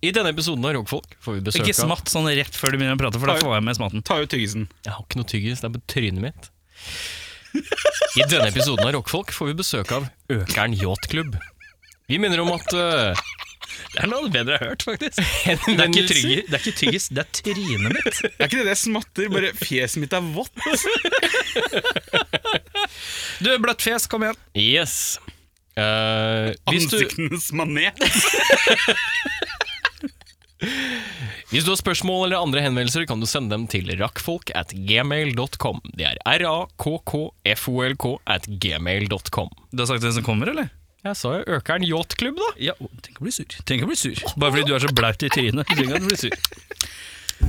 I denne episoden av Rogfolk får vi besøk Ikke smatt sånn rett før du begynner å prate, for da Oi. får jeg med smatten. Ta ut tyggisen. av Jeg har ikke noe tyggis, det er på trynet mitt. I denne episoden av Rockfolk får vi besøk av Økern Yachtklubb. Vi minner om at eh, Det er noe bedre jeg har hørt, faktisk. Det er ikke, henvendelser- trygge, det er ikke tyggis, det er trynet mitt. Det er ikke det det smatter, bare fjeset mitt er vått. Du, bløtt fjes, kom igjen. Yes. Eh, hvis, du, Ansiktenes manet. hvis du har spørsmål eller andre henvendelser, kan du sende dem til rakkfolk at gmail.com. Det er r-a-k-k-f-o-l-k at gmail.com. Du har sagt hvem som kommer, eller? Jeg sa jo Økern Yachtklubb, da. Ja, å, Tenk å bli sur. Tenk å bli sur. Bare fordi du er så blaut i trynet. Du trenger ikke å bli sur.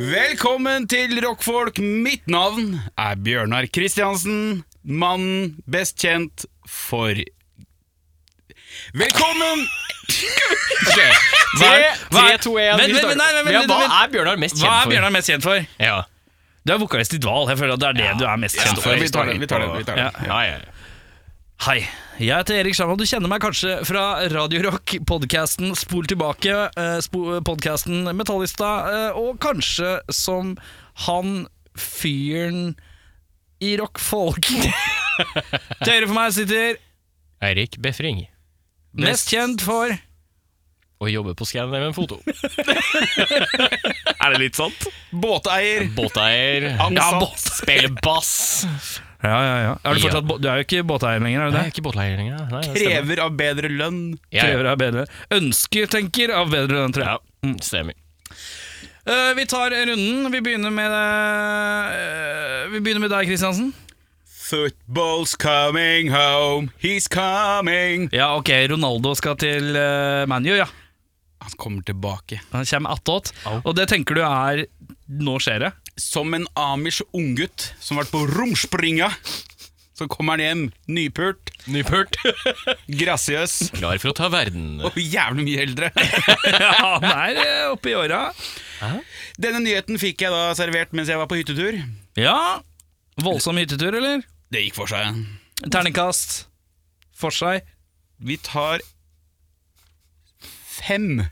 Velkommen til Rockfolk. Mitt navn er Bjørnar Kristiansen. Mannen best kjent for Velkommen! Ok, Hva er, Tre, hva tre, er, to, to, en, en, vi starter. Ja, hva hva er Bjørnar mest Hva kjent er for? Bjørnar mest kjent for? Ja. Du er vokalist i Dval. Jeg føler at det er det du er mest kjent for. vi tar den, vi tar den, vi tar den. Ja, ja, ja. Hei, jeg heter Erik Sjarmann. Du kjenner meg kanskje fra Radio Rock, podkasten Spol tilbake, eh, spo- podkasten Metallista, eh, og kanskje som han fyren i rock folk. Til høyre for meg sitter Eirik Befring. mest kjent for Er Og jobber på Scandinavian Foto. det litt sant? Båteier. Båteier. Ansatt. Ja, båt. Spiller bass. Ja, ja, ja. Er du, fortsatt, bo- du er jo ikke båteier lenger, Nei, er du det? jeg er ikke båteier lenger. Nei, det stemmer. Krever av bedre lønn. Ja, ja. Krever av bedre Ønsker, tenker, av bedre enn tror jeg. Ja, mm, stemmer. Eh, vi tar runden. Vi begynner med eh, Vi begynner med deg, Kristiansen. Football's coming home, he's coming. Ja, ok, Ronaldo skal til eh, ManU, ja. Han kommer tilbake. Han kommer attåt. Og det tenker du er Nå skjer det. Som en amish unggutt som har vært på romspringa. Så kommer han hjem, nypult, Nypult. grasiøs Klar for å ta verden. og jævlig mye eldre. ja, han er eh, oppe i åra. Denne nyheten fikk jeg da servert mens jeg var på hyttetur. Ja. Voldsom hyttetur, eller? Det gikk for seg. Terningkast. For seg. Vi tar fem.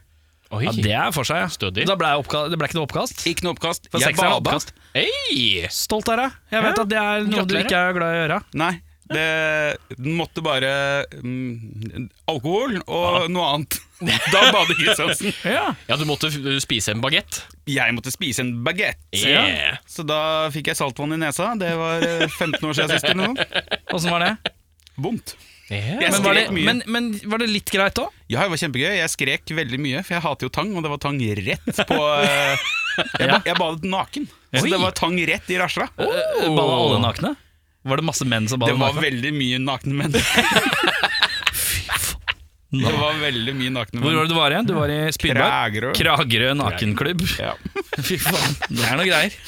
Oi. Ja, det er for seg, ja. Stødig. Da ble jeg oppka- det ble ikke noe oppkast? Ikke noe oppkast. For Jeg seks er det bada. oppkast. Hei! Stolt er jeg. Jeg vet Ja. at det er noe du Gratulerer. ikke er glad i å gjøre. Nei, det den måtte bare mm, Alkohol og noe annet. Da bader Kristiansen. Ja. Ja, du måtte f- spise en bagett. Jeg måtte spise en bagett. Yeah. Så da fikk jeg saltvann i nesa. Det var eh, 15 år siden sist eller noe. Åssen var det? Vondt. Yeah. Men var det, skrek mye. men, men var det litt greit òg? Ja, det var kjempegøy. Jeg skrek veldig mye, for jeg hater jo tang, og det var tang rett på eh, jeg, ba- jeg badet naken. Så Oi. det var tang rett i rasla. Balla alle nakne? Var det masse menn som Det balla var nakne? veldig mye nakne menn. Det var veldig mye nakne Hvor menn. var det du var igjen? Du var i Spydberg? Kragerø. Kragerø nakenklubb. Ja. Fy faen, det er noe greier.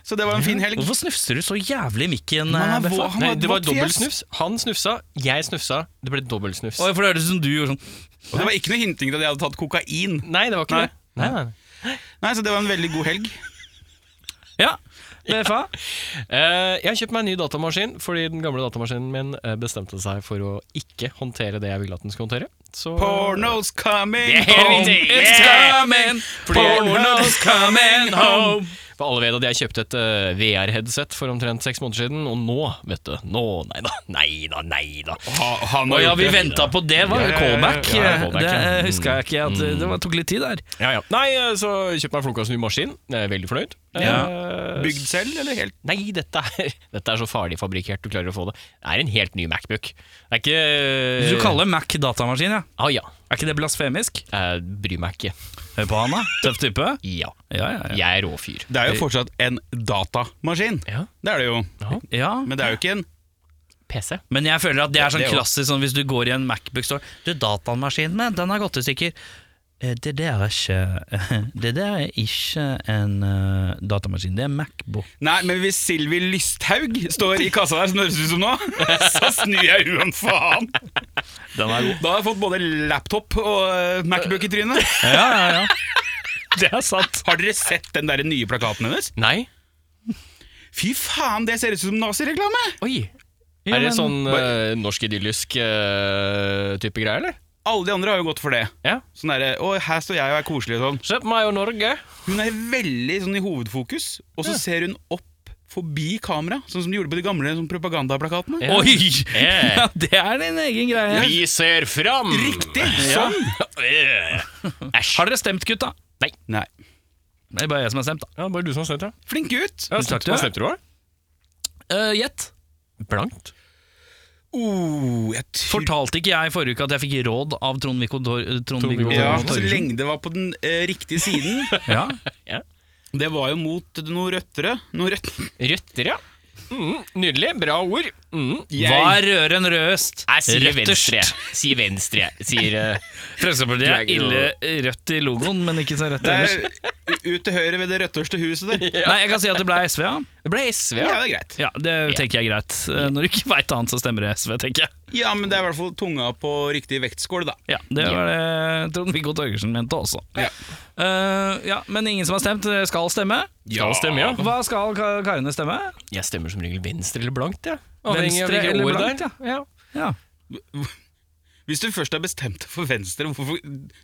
Så det var en fin helg. Hvorfor snufser du så jævlig i mikken? Man er eh, Beffa? vå- han Nei, har et det var vått dobbel fjes. snufs. Han snufsa, jeg snufsa. Det ble dobbel snufs. Oi, for det høres ut som du gjorde sånn. Og det var ikke noe hinting til at jeg hadde tatt kokain. Nei, det var ikke Nei. det. Nei, nei. Nei, Så det var en veldig god helg. Ja, BFA. Eh, jeg har kjøpt meg en ny datamaskin fordi den gamle datamaskinen min eh, bestemte seg for å ikke håndtere det jeg ville at den skulle håndtere. Så eh, Pornos coming Det er home. riktig. It's coming, porno's coming home. For alle vet at jeg kjøpte et eh, VR-headset for omtrent seks måneder siden, og nå, vet du Nå, nei da, nei da, nei da. Ha, han Å har ja, gjort vi det. venta på det, var Ja, ja, ja, ja. callback. Ja, ja, callback, Det ja. eh, huska jeg ikke. At eh, Mm. det var, tok litt tid der. Ja, ja. Nei, eh, så kjøpte meg flunkas ny maskin. Jeg er veldig fornøyd. Eh, Bygd selv, eller helt? Nei, dette er, dette er så farlig fabrikkert du klarer å få det. Det er en helt ny Macbook. Det er ikke Du kaller Mac datamaskin, ja. Ah, ja. Er ikke det blasfemisk? Jeg bryr meg ikke. Hør på han, da. Tøff type. Ja. Ja, ja, ja. Jeg er råfyr. Det er jo fortsatt en datamaskin. Ja. Det er det jo. ja. Men det er jo ikke en PC. Men jeg føler at det er sånn Det er jo- klassisk sånn hvis du går i en Macbook-store Du, datamaskinen min, den har gått i stykker. eh, det der er ikke Det der er ikke en eh, datamaskin, det er Macbook. Nei, men hvis Silvi Lysthaug står i kassa der, som det høres ut som nå, så snur jeg huet faen! Den er god. Da har jeg fått både laptop og eh, Macbook i trynet. Ja, ja, ja. Det er sant. Har dere sett den der nye plakaten hennes? Nei? Fy faen, det ser ut som nazireklame! Oi. Ja, er det men- sånn eh, norsk idyllisk eh, type greier, eller? Alle de andre har jo gått for det. Ja. Sånn derre Å, her står jeg og er koselig og sånn. Se på meg og Norge. Hun er veldig sånn i hovedfokus, og så ser hun opp forbi kamera, sånn som de gjorde på de gamle sånn propagandaplakatene. Ja. Oi! Eh. Ja, det er din egen greie. Vi ser fram! Riktig! Sånn! Eh. Æsj. Har dere stemt, gutta? Nei. Det er bare jeg som har stemt, da. Ja, bare du som har stemt, ja. Flink gutt! ja Takk, stemt, du. hva stemte du, da? Eh, Gjett. Blankt. Oh, jeg tror Fortalte ikke jeg forrige uke at jeg fikk råd av Trond-Viggo Tor- Trond-Viggo Trond-Viggo ja, Torgersen. Så Torgersen? lenge det var på den eh, riktige siden. Ja. Det var jo mot noe røttere. Noe rødt... Røtter, ja. Mm, nydelig. Bra ord. Mm. Jeg- Hva er rødere enn rødest? Jeg sier Rødterst. venstre. Sier venstre. Sier eh, Fremskrittspartiet er ille rødt i logoen, men ikke så rødt Det ellers. er ut til høyre ved det røtteste huset der. Nei, jeg kan si at det ble SV, ja. Det ble SV, Ja, ja. det er greit. Ja, Det tenker jeg er greit. Eh, Når du ikke veit annet, så stemmer det SV, tenker jeg. Ja, men det er i hvert fall tunga på riktig vektskål, da. Ja, Det var det Trond-Viggo Torgersen mente også. Ja. Eh, ja, Men ingen som har stemt, eh, skal stemme. Skal stemme, ja. Hva skal ka- karene stemme? Jeg stemmer som regel venstre eller blankt, ja. Avhengig av Venstre hvilke eller ord det blankt? er. Ja. Ja. Ja. Hvis du først har bestemt deg for venstre, hvorfor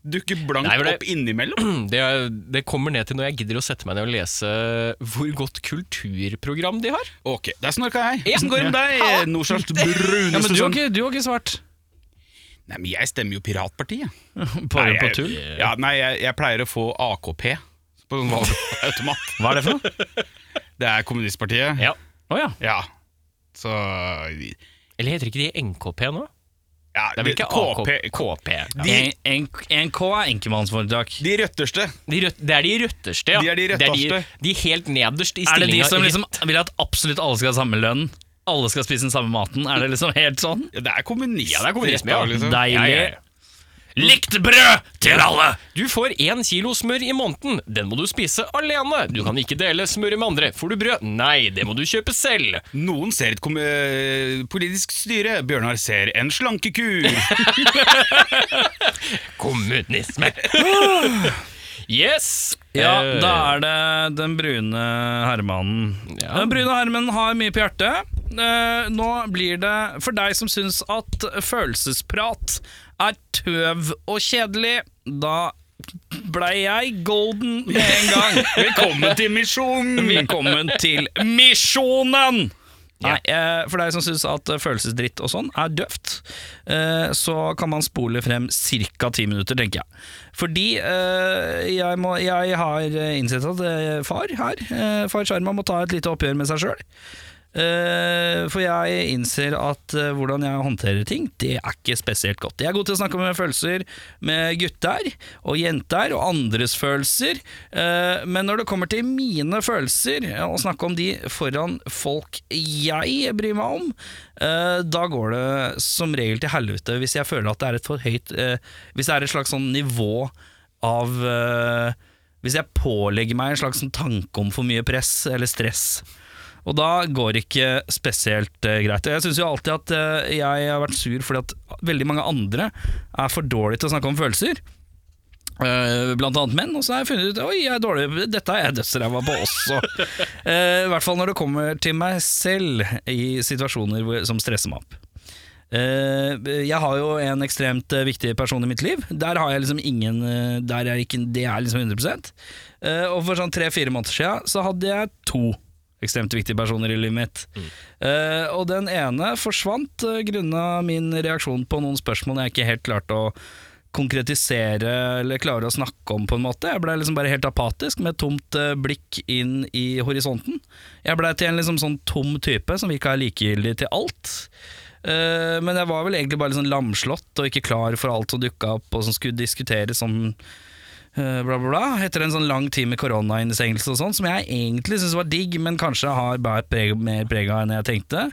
dukker blankt Nei, for det- opp innimellom? Mm, Det, er, det kommer ned til når jeg gidder å sette meg ned og lese eh, hvor godt kulturprogram de har. Ok, der snorka jeg. Ja. Åssen går det med Ja. deg, Norsals brune men du har, Susanne? ikke, du har ikke svart. Nei, men jeg stemmer jo Piratpartiet. Bare Nei, på jeg- tull? Ja, nei, jeg, jeg pleier å få AKP på sånn valgautomat. Hva er det for noe? Det er kommunistpartiet. Ja. Å ja. Ja. Så Eller heter ikke de NKP nå? ja, Det er vel ikke AKP? KP. De- En- en- NK er enkemannsforetak. De røtterste. De rødt- det er de røtteste, ja. De er de Det de, røtteste. de helt nederst i Er det stillinga. de som liksom vil at absolutt alle skal ha samme lønn? Alle skal spise den samme maten? Er det liksom helt sånn? Ja, det er kommunist. Ja, det er kommunisme, ja. liksom. Deilig. Ja, ja, ja. Likt brød til alle! Du får én kilo smør i måneden. Den må du spise alene. Du kan ikke dele smøret med andre. Får du brød? Nei, det må du kjøpe selv. Noen ser et kom eh, politisk styre. Bjørnar ser en slankekur. Kommunisme. Yes. Ja, Eh, da er det den brune herremannen. Ja. Den brune herremannen har mye på hjertet. Eh, nå blir det for deg som syns at følelsesprat er tøv og kjedelig, da blei jeg golden med en gang. Velkommen til misjonen! Velkommen til Misjonen! Nei, eh, For deg som syns at eh, følelsesdritt og sånn er døvt, eh, så kan man spole frem ca. ti minutter, tenker jeg. Fordi eh, jeg, må, jeg har eh, innsett at eh, far her, eh, far Sharma, må ta et lite oppgjør med seg sjøl. Eh, for jeg innser at eh, hvordan jeg håndterer ting, det er ikke spesielt godt. Jeg er god til å snakke med følelser med gutter og jenter og andres følelser, eh, men når det kommer til mine følelser, eh, og snakke om de foran folk jeg bryr meg om, eh, da går det som regel til helvete hvis jeg føler at det er et for høyt eh, Hvis det er et slags sånn nivå av eh, Hvis jeg pålegger meg en slags sånn tanke om for mye press eller stress. Og da går det ikke spesielt eh, greit. Og jeg syns jo alltid at eh, jeg har vært sur fordi at veldig mange andre er for dårlige til å snakke om følelser. Eh, blant annet menn. Og så har jeg funnet ut Oi, jeg er dårlig dette er jeg dødsræva på også. Eh, I hvert fall når det kommer til meg selv i situasjoner hvor, som stresser meg opp. Eh, jeg har jo en ekstremt eh, viktig person i mitt liv. Der har jeg liksom ingen eh, der er ikke, Det er liksom 100 Eh, Og for sånn tre-fire måneder siden så hadde jeg to ekstremt viktige personer i livet mitt. Eh, og den ene forsvant uh, grunna min reaksjon på noen spørsmål jeg ikke helt klarte å konkretisere eller klare å snakke om på en måte. Jeg ble liksom bare helt apatisk med et tomt eh, blikk inn i horisonten. Jeg ble til en liksom sånn tom type som ikke er likegyldig til alt. Eh, men jeg var vel egentlig bare litt sånn lamslått og ikke klar for alt som dukka opp og som skulle diskuteres som eh, bla, bla, bla. Etter en sånn lang tid med koronainnestengelse og sånn, som jeg egentlig syntes var digg, men kanskje har båret preg, mer preg av enn jeg eh, tenkte.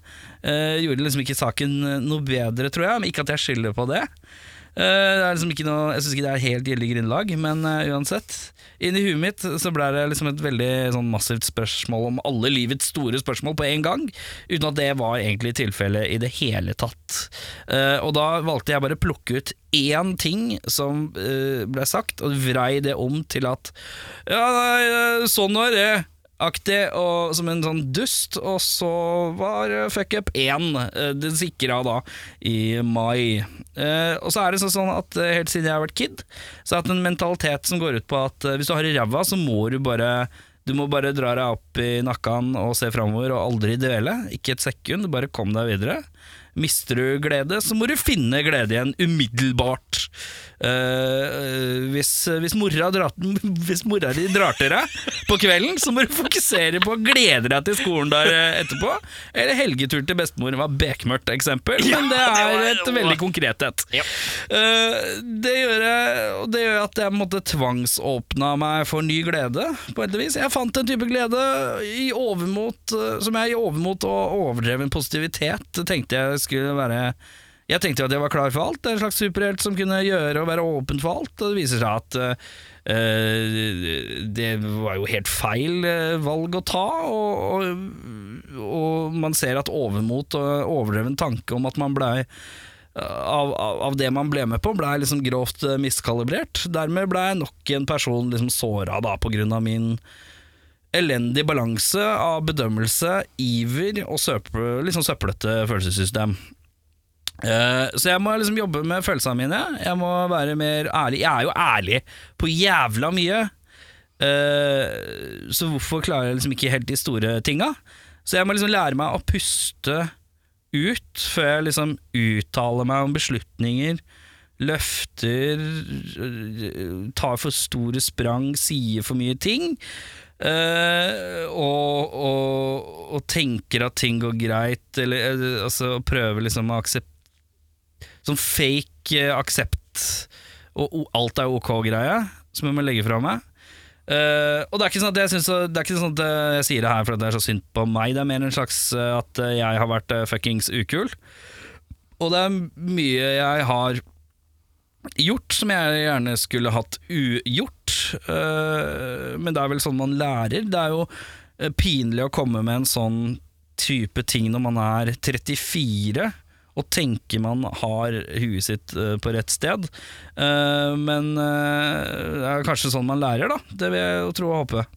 Eh, gjorde liksom ikke saken noe bedre, tror jeg, men ikke at jeg skylder på det. Eh, det er liksom ikke noe, jeg syns ikke det er helt gyldig grunnlag, men eh, uansett. Inni huet mitt så ble det liksom et veldig sånn massivt spørsmål om alle livets store spørsmål på en gang, uten at det var egentlig tilfellet i det hele tatt. Eh, og da valgte jeg bare å plukke ut én ting som eh, ble sagt, og vrei det om til at Ja, nei, eh, sånn var det. Aktig og som en sånn dust, og så var eh, fuck up én. eh, Det sikra da i mai. Eh, og så er det sånn- sånn at eh, helt siden jeg har vært kid, så har jeg hatt en mentalitet som går ut på at eh, hvis du har i ræva, så må du bare du må bare dra deg opp i nakken og se framover og aldri dvele. Ikke et sekund, bare kom deg videre. Mister du glede, så må du finne glede igjen umiddelbart. Eh, hvis, hvis, mora drar, hvis mora di drar til deg på kvelden, så må du fokusere på å glede deg til skolen der eh, etterpå. Eller helgetur til bestemor var bekmørkt eksempel, men det er et veldig konkret et. Ja. Eh, det, gjør jeg, og det gjør at jeg på en måte tvangsåpna meg for ny glede, på et vis. Jeg fant en type glede i overmot, eh, som jeg i overmot og overdreven positivitet tenkte jeg skulle være Jeg tenkte jo at jeg var klar for alt, en slags superhelt som kunne gjøre og være åpen for alt, og det viser seg at eh, eh, det var jo helt feil eh, valg å ta, og, og, og man ser at overmot og overdreven tanke om at man blei av, av, av det man ble med på, ble jeg liksom grovt eh, miskalibrert. Dermed ble jeg nok en person liksom såra da, på grunn av min elendig balanse av bedømmelse, iver og søpe, liksom søplete følelsessystem. Eh, så jeg må liksom jobbe med følelsene mine. Jeg må være mer ærlig. Jeg er jo ærlig på jævla mye. Eh, så hvorfor klarer jeg liksom ikke helt de store tinga? Så jeg må liksom lære meg å puste ut før jeg liksom uttaler meg om beslutninger, løfter, øh, tar for store sprang, sier for mye ting. øh, og, og, og tenker at ting går greit, eller øh, altså prøver liksom å akseptere Sånn fake eh, aksept og o- alt er ok-greie, som jeg må legge fra meg. Eh, og det er ikke sånn at jeg synes, Det er ikke sånn at eh, jeg sier det her fordi det er så synd på meg. Det er mer en slags eh, at eh, jeg har vært eh, fuckings ukul. Og det er mye jeg har gjort som jeg gjerne skulle hatt ugjort. Eh, men det er vel sånn man lærer. Det er jo eh, pinlig å komme med en sånn type ting når man er 34 og tenker man har huet sitt eh, på rett sted. Eh, men eh, det er kanskje sånn man lærer, da. Det vil jeg jo tro og håpe.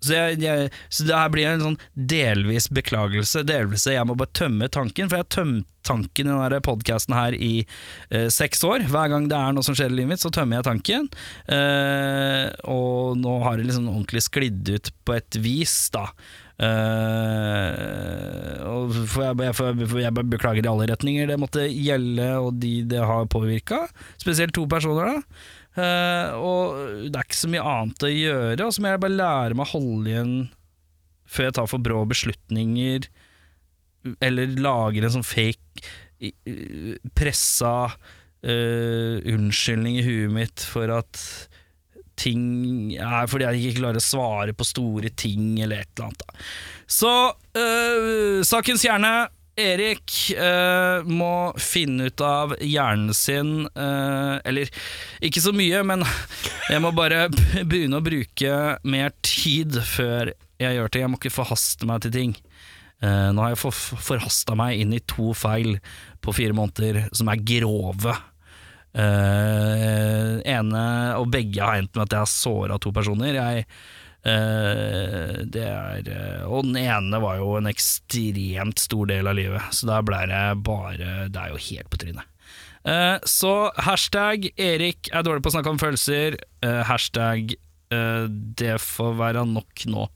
Så, jeg, jeg, så det her blir en sånn delvis beklagelse. Delvis Jeg må bare tømme tanken, for jeg har tømt tanken i denne podkasten her i eh, seks år. Hver gang det er noe som skjer i livet mitt, så tømmer jeg tanken. Eh, og nå har det liksom ordentlig sklidd ut på et vis, da. Eh, og for jeg, jeg, for jeg, for jeg beklager i alle retninger. Det måtte gjelde, og de det har påvirka. Spesielt to personer, da. Eh, og det er ikke så mye annet å gjøre, og så må jeg bare lære meg å holde igjen før jeg tar for brå beslutninger, eller lager en sånn fake, i- i- pressa eh, unnskyldning i huet mitt for at ting er fordi jeg ikke klarer å svare på store ting, eller et eller annet. Da. Så øh, sakens hjerne Erik øh, må finne ut av hjernen sin øh, Eller ikke så mye, men jeg må bare b- begynne å bruke mer tid før jeg gjør ting. Jeg må ikke forhaste meg til ting. Eh, nå har jeg for, forhasta meg inn i to feil på fire måneder som er grove. Eh, ene og begge har endt med at jeg har såra to personer. Jeg, eh, det er, eh, og den ene var jo en ekstremt stor del av livet, så der ble det bare Det er jo helt på trynet. Eh, så hashtag Erik er dårlig på å snakke om følelser. Eh, hashtag eh, det får være nok nå.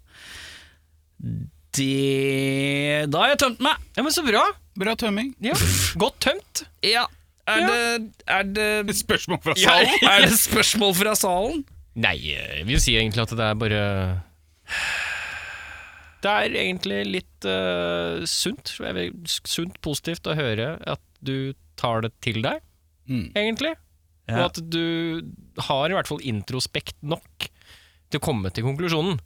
Det Da har jeg tømt meg! Ja, men så bra. Bra tømming. Ja. Godt tømt. Ja. Er det, er det Et spørsmål fra Ja. salen. Er det spørsmål fra salen? Nei, jeg vil si egentlig at det er bare Det er egentlig litt eh, sunt. tror jeg. Sunt, positivt å høre at du tar det til deg, Mm. egentlig. Og at du har i hvert fall introspekt nok til å komme til konklusjonen.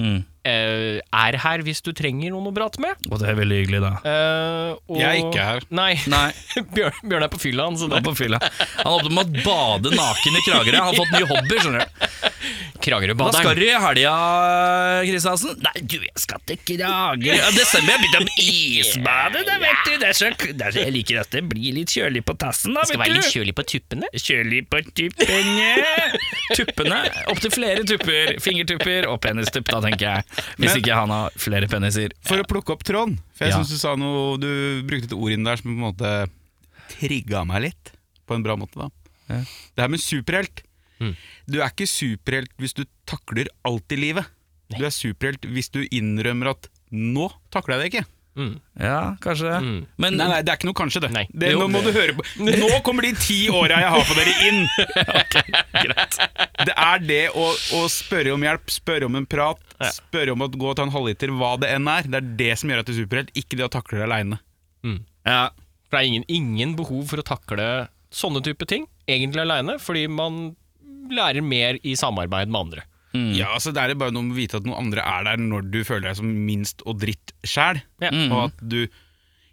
Mm. eh, er her hvis du trenger noen å prate med. Og det er veldig hyggelig, da. Eh, og, Jeg er ikke her. Nei, Nei, Bjørn, Bjørn er på fylla, han. Så han det. er på fylla. Han åpner med å bade naken i Kragerø. Han har fått ny hobby, skjønner du. Hva skal Kragerøbaderen. du i helga, Kristiansen? Nei, du, jeg skal til Kragerø. Ja, Desember, jeg begynte å isbade, det vet du. Det er så, det er så, jeg liker at det blir litt kjølig på tassen, da, Skal vet være litt du. kjølig på tuppene. Kjølig på tuppene. tuppene. Opptil flere tupper. Fingertupper og penistupp, da, tenker jeg. Hvis Men- ikke han har flere peniser. For å plukke opp tråden. For jeg Ja. synes du sa noe Du brukte et ord inn der som på en måte trigga meg litt. På en bra måte, da. Det her med superhelt. Du er ikke superhelt hvis du takler alt i livet. Du er superhelt hvis du innrømmer at 'nå takler jeg det ikke'. Ja, kanskje. Men Nei, nei, det er ikke noe kanskje, det. Nei. det Jo, nå må du høre på. Nå kommer de ti åra jeg har på dere, inn! Det er det å, å spørre om hjelp, spørre om en prat, spørre om å gå og ta en halvliter, hva det enn er. Det er det som gjør at du er superhelt, ikke det å takle det aleine. ja. Mm. For det er ingen, ingen behov for å takle sånne type ting, egentlig aleine, fordi man lærer mer i samarbeid med andre. Mm. Ja, altså Det er bare noe med å vite at noen andre er der når du føler deg som minst og dritt sjæl. Ja. Og Mm. at du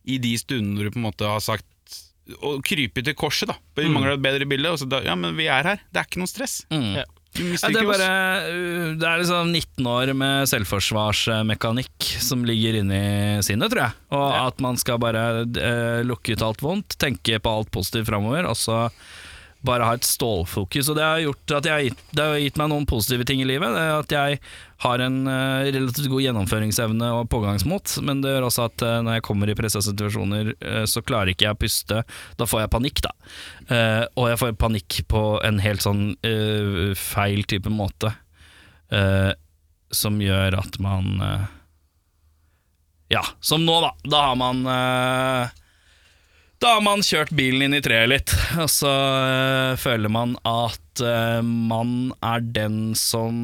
i de stundene du på en måte har sagt Å krype til korset, da. Vi Mm. mangler et bedre bilde. Og så da, ja, men vi er her. Det er ikke noe stress. mm. Ja. Du Ja, det, mistenker er bare, oss. uh, det er liksom 19 år med selvforsvarsmekanikk som ligger inni sinnet, tror jeg. Og at man skal bare uh, lukke ut alt vondt, tenke på alt positivt framover, og så bare ha et stålfokus. Og det har gjort at jeg har gitt, det har gitt meg noen positive ting i livet. Det er at jeg har en eh, relativt god gjennomføringsevne og pågangsmot, men det gjør også at eh, når jeg kommer i pressa situasjoner, eh, så klarer ikke jeg å puste. Da får jeg panikk, da. Eh, og jeg får panikk på en helt sånn eh, feil type måte, eh, som gjør at man eh, Ja, som nå, da. Da har man eh, da har man kjørt bilen inn i treet litt, og så øh, føler man at øh, man er den som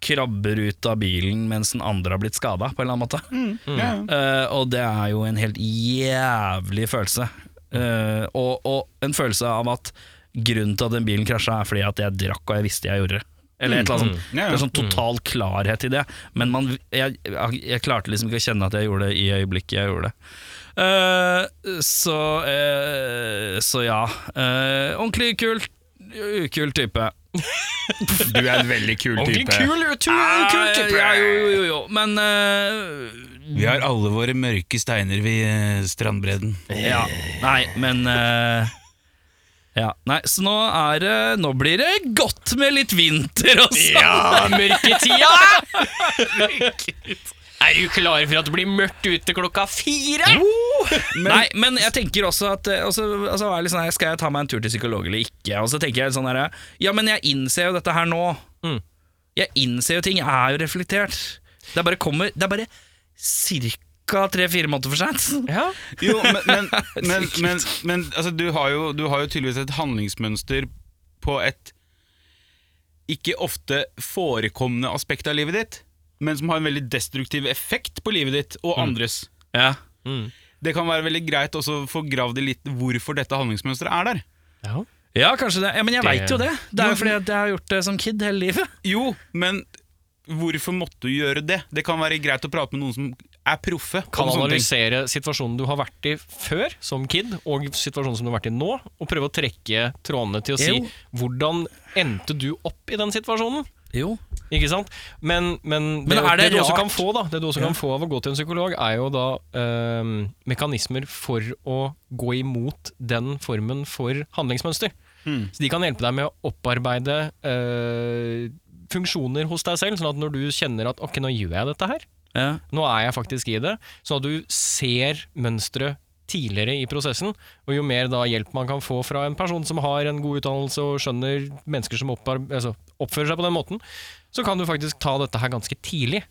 krabber ut av bilen mens den andre har blitt skada, på en eller annen måte. ja, ja. Eh, og det er jo en helt jævlig følelse. Eh, og, og en følelse av at grunnen til at den bilen krasja, er fordi at jeg drakk og jeg visste jeg gjorde det. Eller et eller annet sånt. Ja, ja. Det er sånn total klarhet i det. Men man, jeg, jeg, jeg klarte liksom ikke å kjenne at jeg gjorde det i øyeblikket jeg gjorde det. Eh, så, eh, så ja. Eh, ordentlig kul, ukul type. Du er en veldig kul Ordentlig type. kul, kul, kul type! Ja, jo, jo, jo, jo. Men eh, Vi har alle våre mørke steiner ved strandbredden. Ja, nei, men eh, ja. Nei, så nå er det Nå blir det godt med litt vinter og sånn. Ja, mørketida! Er du klar for at det blir mørkt ute klokka fire? Nei, men jeg tenker også at eh, også, altså, er det litt sånn her, Skal jeg ta meg en tur til psykolog eller ikke? Og så tenker jeg sånn her Ja, men jeg innser jo dette her nå. Mm. Jeg innser jo ting. Jeg er jo reflektert. Det er bare kommer Det er bare ca. tre-fire måneder for seint. Ja. Jo, men, men, men, men, men altså, du, har jo, du har jo tydeligvis et handlingsmønster på et ikke ofte forekommende aspekt av livet ditt, men som har en veldig destruktiv effekt på livet ditt Mm. og andres. Ja. Det kan være veldig greit også å få gravd i litt hvorfor dette handlingsmønsteret er der. ja. ja, kanskje det. Ja, Men jeg Det- veit jo det. Det er jo fordi at jeg har gjort det som kid hele livet. Jo, men hvorfor måtte du gjøre det? Det kan være greit å prate med noen som er proffe. om Kan sånne ting. analysere situasjonen du har vært i før som kid, og situasjonen som du har vært i nå, og prøve å trekke trådene til å si Jo. hvordan endte du opp i den situasjonen? Jo. Ikke sant? Men, men, det, Men er det, det du også rart? kan få da Det du også kan få av å gå til en psykolog, er jo da øhm, mekanismer for å gå imot den formen for handlingsmønster. Så de kan hjelpe deg med å opparbeide øh, funksjoner hos deg selv, sånn at når du kjenner at ok, nå gjør jeg dette her, Ja. nå er jeg faktisk i det, sånn at du ser mønsteret tidligere i prosessen, og jo mer da hjelp man kan få fra en person som har en god utdannelse og skjønner mennesker som oppar altså, oppfører seg på den måten, så kan du faktisk ta dette her ganske tidlig.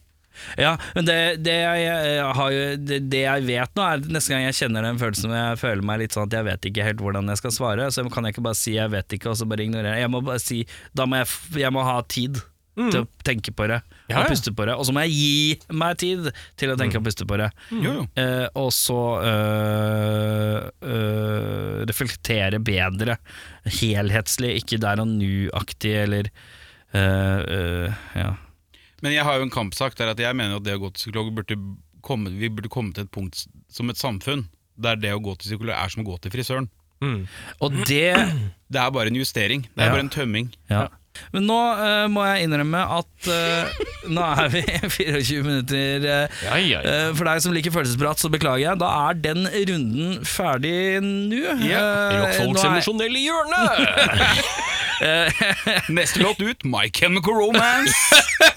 Ja, men det, det, jeg, jeg har, jo- det, det jeg vet nå, er at neste gang jeg kjenner den følelsen hvor jeg føler meg litt sånn at jeg vet ikke helt hvordan jeg skal svare, så kan jeg ikke bare si 'jeg vet ikke', og så bare ignorere. Jeg må bare si Da må jeg, f- jeg må ha tid til å tenke på det Mm. Ja, Mm. ja. og puste på det. Og så må jeg gi meg tid til å tenke og puste på det. Jo, jo. Eh, og så eh, eh, reflektere bedre. Helhetslig, ikke der og nu-aktig eller eh, eh, Ja. Men jeg har jo en kampsak der at jeg mener at det å gå til psykolog burde komme, Vi burde komme til et punkt som et samfunn der det å gå til psykolog er som å gå til frisøren. Mm. Og det Det er bare en justering. Det er Ja. bare en tømming. ja. Men nå eh, må jeg innrømme at eh, nå er vi 24 minutter eh, Ja, ja, ja. Eh, For deg som liker følelsesprat, så beklager jeg. Da er den runden ferdig nå. Eh, Rockfolks nå er- emosjonelle hjørne! Neste låt ut, My Chemical Romance,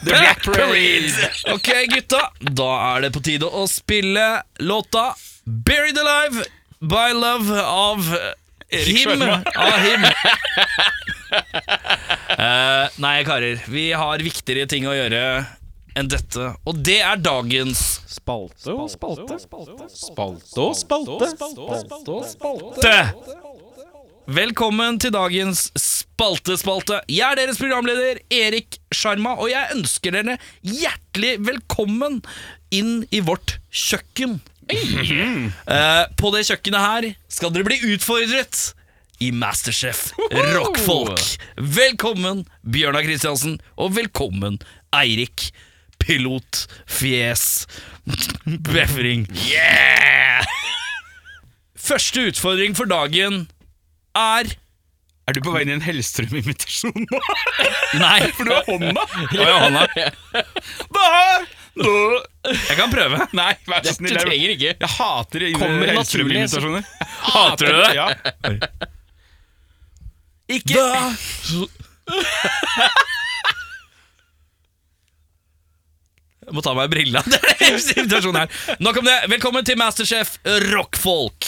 The Black Parade. Ok, gutta. Da er det på tide å spille låta 'Buried Alive by Love' av Erik him. Sjølma. Av him. Eh, nei, karer. Vi har viktigere ting å gjøre enn dette, og det er dagens Spalte og spalte. Spalte Spalte, og spalte. spalte. Velkommen til dagens Spalte-spalte. Jeg er deres programleder, Erik Sjarma, og jeg ønsker dere hjertelig velkommen inn i vårt kjøkken. Eh, på det kjøkkenet her skal dere bli utfordret i Masterchef Rockfolk. Velkommen, Bjørnar Kristiansen, og velkommen, Eirik. Pilot, fjes, befring. Yeah! Første utfordring for dagen er Er du på vei inn i en Hellstrøm-invitasjon nå? Nei, for du har hånda. ja, hånda. Da- da- Jeg kan prøve. Nei, vær så Du snill. Jeg, trenger ikke. jeg hater Kommer det naturlig, Hellstrøm-invitasjoner. Hater du det? Ja. Ikke da. Jeg må ta meg brillene. Det er en situasjon her. Nok om det. Velkommen til Masterchef Rockfolk.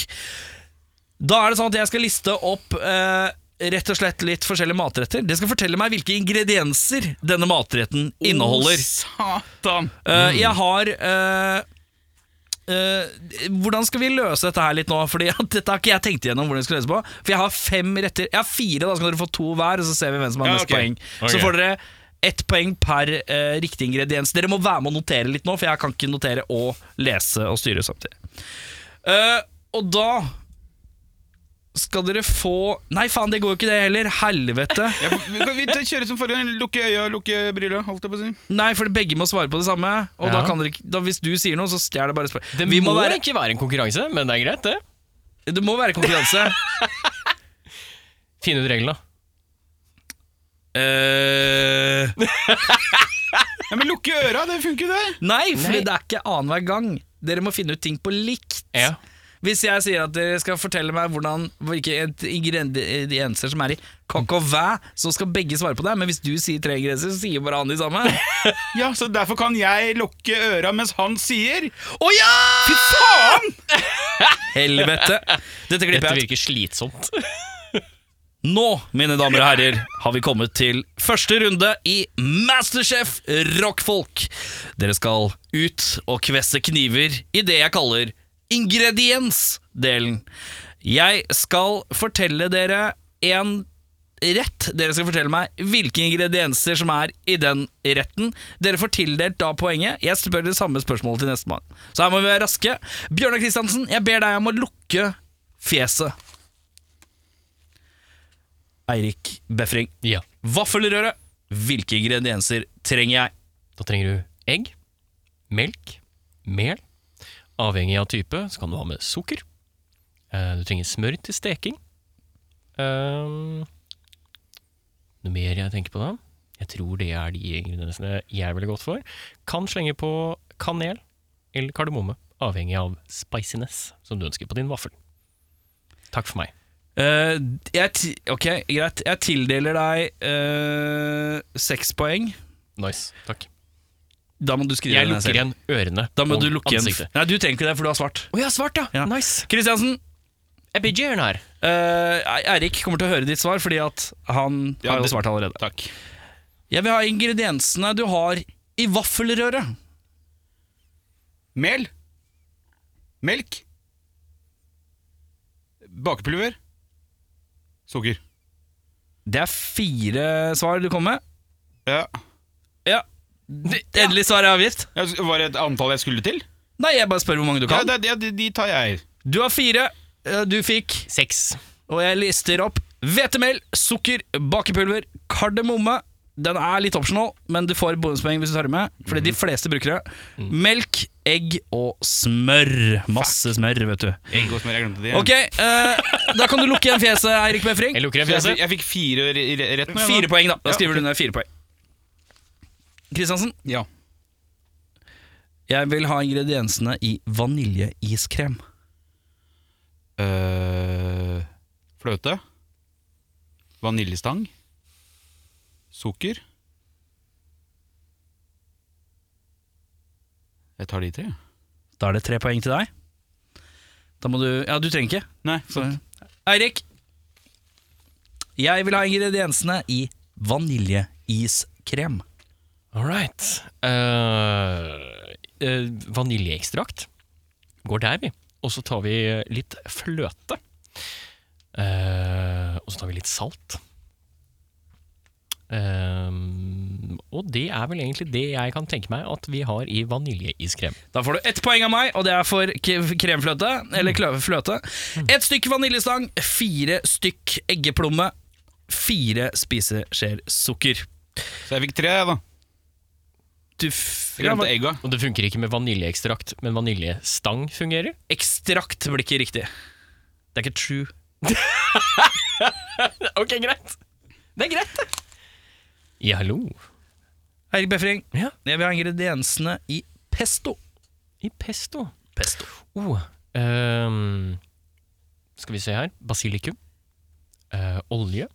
Da er det sånn at jeg skal liste opp eh, rett og slett litt forskjellige matretter. Det skal fortelle meg hvilke ingredienser denne matretten inneholder. Å, Satan. Eh, Jeg har eh, eh, Hvordan skal vi løse dette her litt nå? Fordi at Dette har ikke jeg tenkt igjennom hvordan vi skal løse på. For jeg har fem retter. Jeg har fire, da så kan dere få to hver, og så ser vi hvem som har Ja, mest ok. poeng. Så Ok. får dere ett poeng per eh, riktig ingrediens. Dere må være med å notere litt nå, for jeg kan ikke notere og lese og styre samtidig. Eh, og da skal dere få Nei, faen, det går jo ikke det heller. Helvete. Ja, vi kan- vi kjører som forrige gang. Lukke øya, lukke brilla, holdt jeg på å si. Nei, for begge må svare på det samme. Og da Ja. kan dere, ikke- da, hvis du sier noe, så stjeler det bare spørsmål. Det Vi må, være- ikke være en konkurranse, men det er greit, det. Det må være konkurranse. Finn ut reglene. Ja, men lukke øra, det funker, det. Nei, for det er ikke annenhver gang. Dere må finne ut ting på likt. Ja. Hvis jeg sier at dere skal fortelle meg hvordan, hvilke et- ingredienser som er i coq au vin, så skal begge svare på det. Men hvis du sier tre ingredienser, så sier bare han de samme. Å Ja, så derfor kan jeg lukke øra mens han sier ja! Fy faen! Helvete. Dette Dette klipper jeg ut. virker slitsomt. Nå, mine damer og herrer, har vi kommet til første runde i Masterchef Rockfolk. Dere skal ut og kvesse kniver i det jeg kaller ingrediensdelen. Jeg skal fortelle dere en rett. Dere skal fortelle meg hvilke ingredienser som er i den retten. Dere får tildelt da poenget. Jeg spør det samme spørsmålet til nestemann. Så her må vi være raske. Bjørnar Kristiansen, jeg ber deg om å lukke fjeset. Eirik Befring. Ja. Vaffelrøre. Hvilke ingredienser trenger jeg? Da trenger du egg, melk, mel. Avhengig av type så kan du ha med sukker. Eh, Du trenger smør til steking. Ehm, noe mer jeg tenker på da? Jeg tror det er de ingrediensene jeg er veldig godt for. Kan slenge på kanel eller kardemomme, avhengig av spiciness som du ønsker på din vaffel. Takk for meg. Eh, jeg ti ok, greit. Jeg tildeler deg eh, seks poeng. Nice. Takk. Da må du skrive Jeg ned lukker selv. igjen ørene Da må og du lukke ansiktet. igjen. Nei, du trenger ikke det, for du har svart. Å, jeg har svart, ja! Ja. Nice. Kristiansen, Jeg blir gjerne her. eh, Eirik kommer til å høre ditt svar, fordi at han Ja, har jo det- svart allerede. Takk. Jeg vil ha ingrediensene du har i vaffelrøret. Mel. Melk. Bakepulver. Sukker. Det er fire svar du kom med. Ja. Ja. Endelig svar er avgitt. Ja, så Var det et antall jeg skulle til? Nei, jeg bare spør hvor mange du Ja, kan. det, det, de- de tar jeg. Du har fire. Eh, Du fikk Seks. Og jeg lister opp hvetemel, sukker, bakepulver, kardemomme, Den er litt optional, men du får bonuspoeng hvis du tar det med. Fordi Mhm. de fleste bruker det. Mm. Melk, egg og smør. Masse smør, vet du. Egg og smør, jeg glemte det. igjen. Ok, eh, Da kan du lukke igjen fjeset, Eirik Befring. Jeg lukker igjen Så Jeg, fikk- fjeset. jeg fikk fire re- re- rett nå. jeg, Fire da. poeng, da. Da Ja, skriver du ned fire poeng. Kristiansen, Ja. jeg vil ha ingrediensene i vaniljeiskrem. Eh, fløte. Vaniljestang. Sukker. Jeg tar de tre. jeg. Da er det tre poeng til deg. Da må du Ja, du trenger ikke. Nei, Så- sant. Eirik, jeg vil ha ingrediensene i vaniljeiskrem. All right. Eh, eh, vaniljeekstrakt. Går der, vi. Og så tar vi litt fløte. Eh, og så tar vi litt salt. Eh, og det er vel egentlig det jeg kan tenke meg at vi har i vaniljeiskrem. Da får du ett poeng av meg, og det er for k- kremfløte. Eller Mm. klø- fløte. Ett stykk vaniljestang, fire stykk eggeplomme, fire spiseskjeer sukker. Så jeg fikk tre, jeg, da. Du f Jeg glemte egga. Og det funker ikke med vaniljeekstrakt, men vaniljestang fungerer. Ekstrakt blir ikke riktig. Det er ikke true. Ok, greit. Det er greit, det. Ja, hallo. Eirik Befring, Ja. jeg vil ha ingrediensene i pesto. I pesto. Pesto. Oh, ehm, skal vi se her. Basilikum. Eh, olje.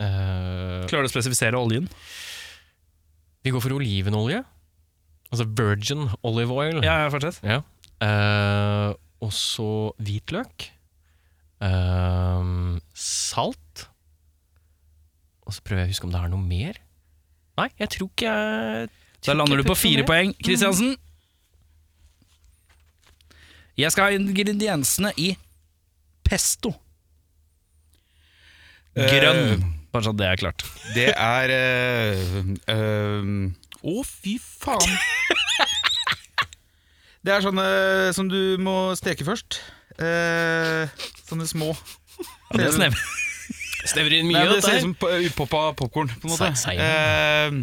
Eh, Klarer du å spesifisere oljen? vi går for olivenolje. Altså virgin olive oil. Ja, ja, fortsett. Eh, og så hvitløk. Ehm, salt. Og så prøver jeg å huske om det er noe mer. Nei, jeg tror ikke jeg Da lander du på fire poeng. Kristiansen? Jeg skal ha ingrediensene i pesto. Eh. Grønn. Bare sånn at det er klart. Det er eh, eh, Å, fy faen! Det er sånne som du må steke først. Eh, sånne små. Ja, det er snev. Snevrer inn Nei, det dette ser her. ut som po- upoppa liksom popkorn, på en måte. Se- seier. Eh,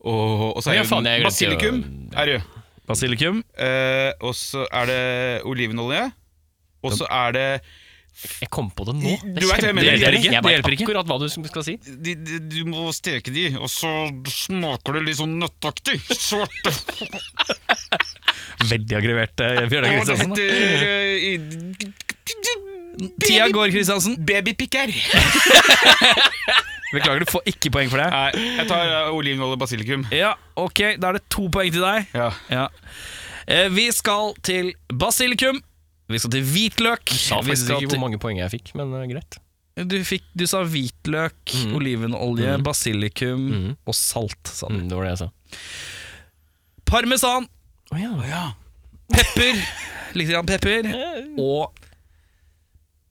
og, og så Ja, er faen, jeg det glemte basilikum. Er det. Basilikum. Eh, og så er det olivenolje. Og så er det Jeg kom på det nå. Du vet hva jeg mener. kjempeirriterende. Jeg ikke. Det Det hjelper vet hjelper ikke. akkurat hva du skal si. de, de, Du må steke de, og så smaker det litt sånn nøttaktig. Svarte Veldig aggrivert, eh, Bjørnar Kristiansen. da. eh, Tida går, Kristiansen. Babypikker. Beklager, du får ikke poeng for det. Nei, jeg tar eh, olivenolje og basilikum. Ja, ok, Da er det to poeng til deg. Ja. Ja. Eh, Vi skal til basilikum. Vi skal til hvitløk. Sa vi faktisk skal ikke til, hvor mange poeng jeg fikk, men eh, greit. du, fikk, du sa hvitløk, Mhm. olivenolje, Mhm. basilikum Mhm. og salt. Sa du. Mm, det var det jeg sa. Parmesan, Å ja. pepper, litt grann pepper og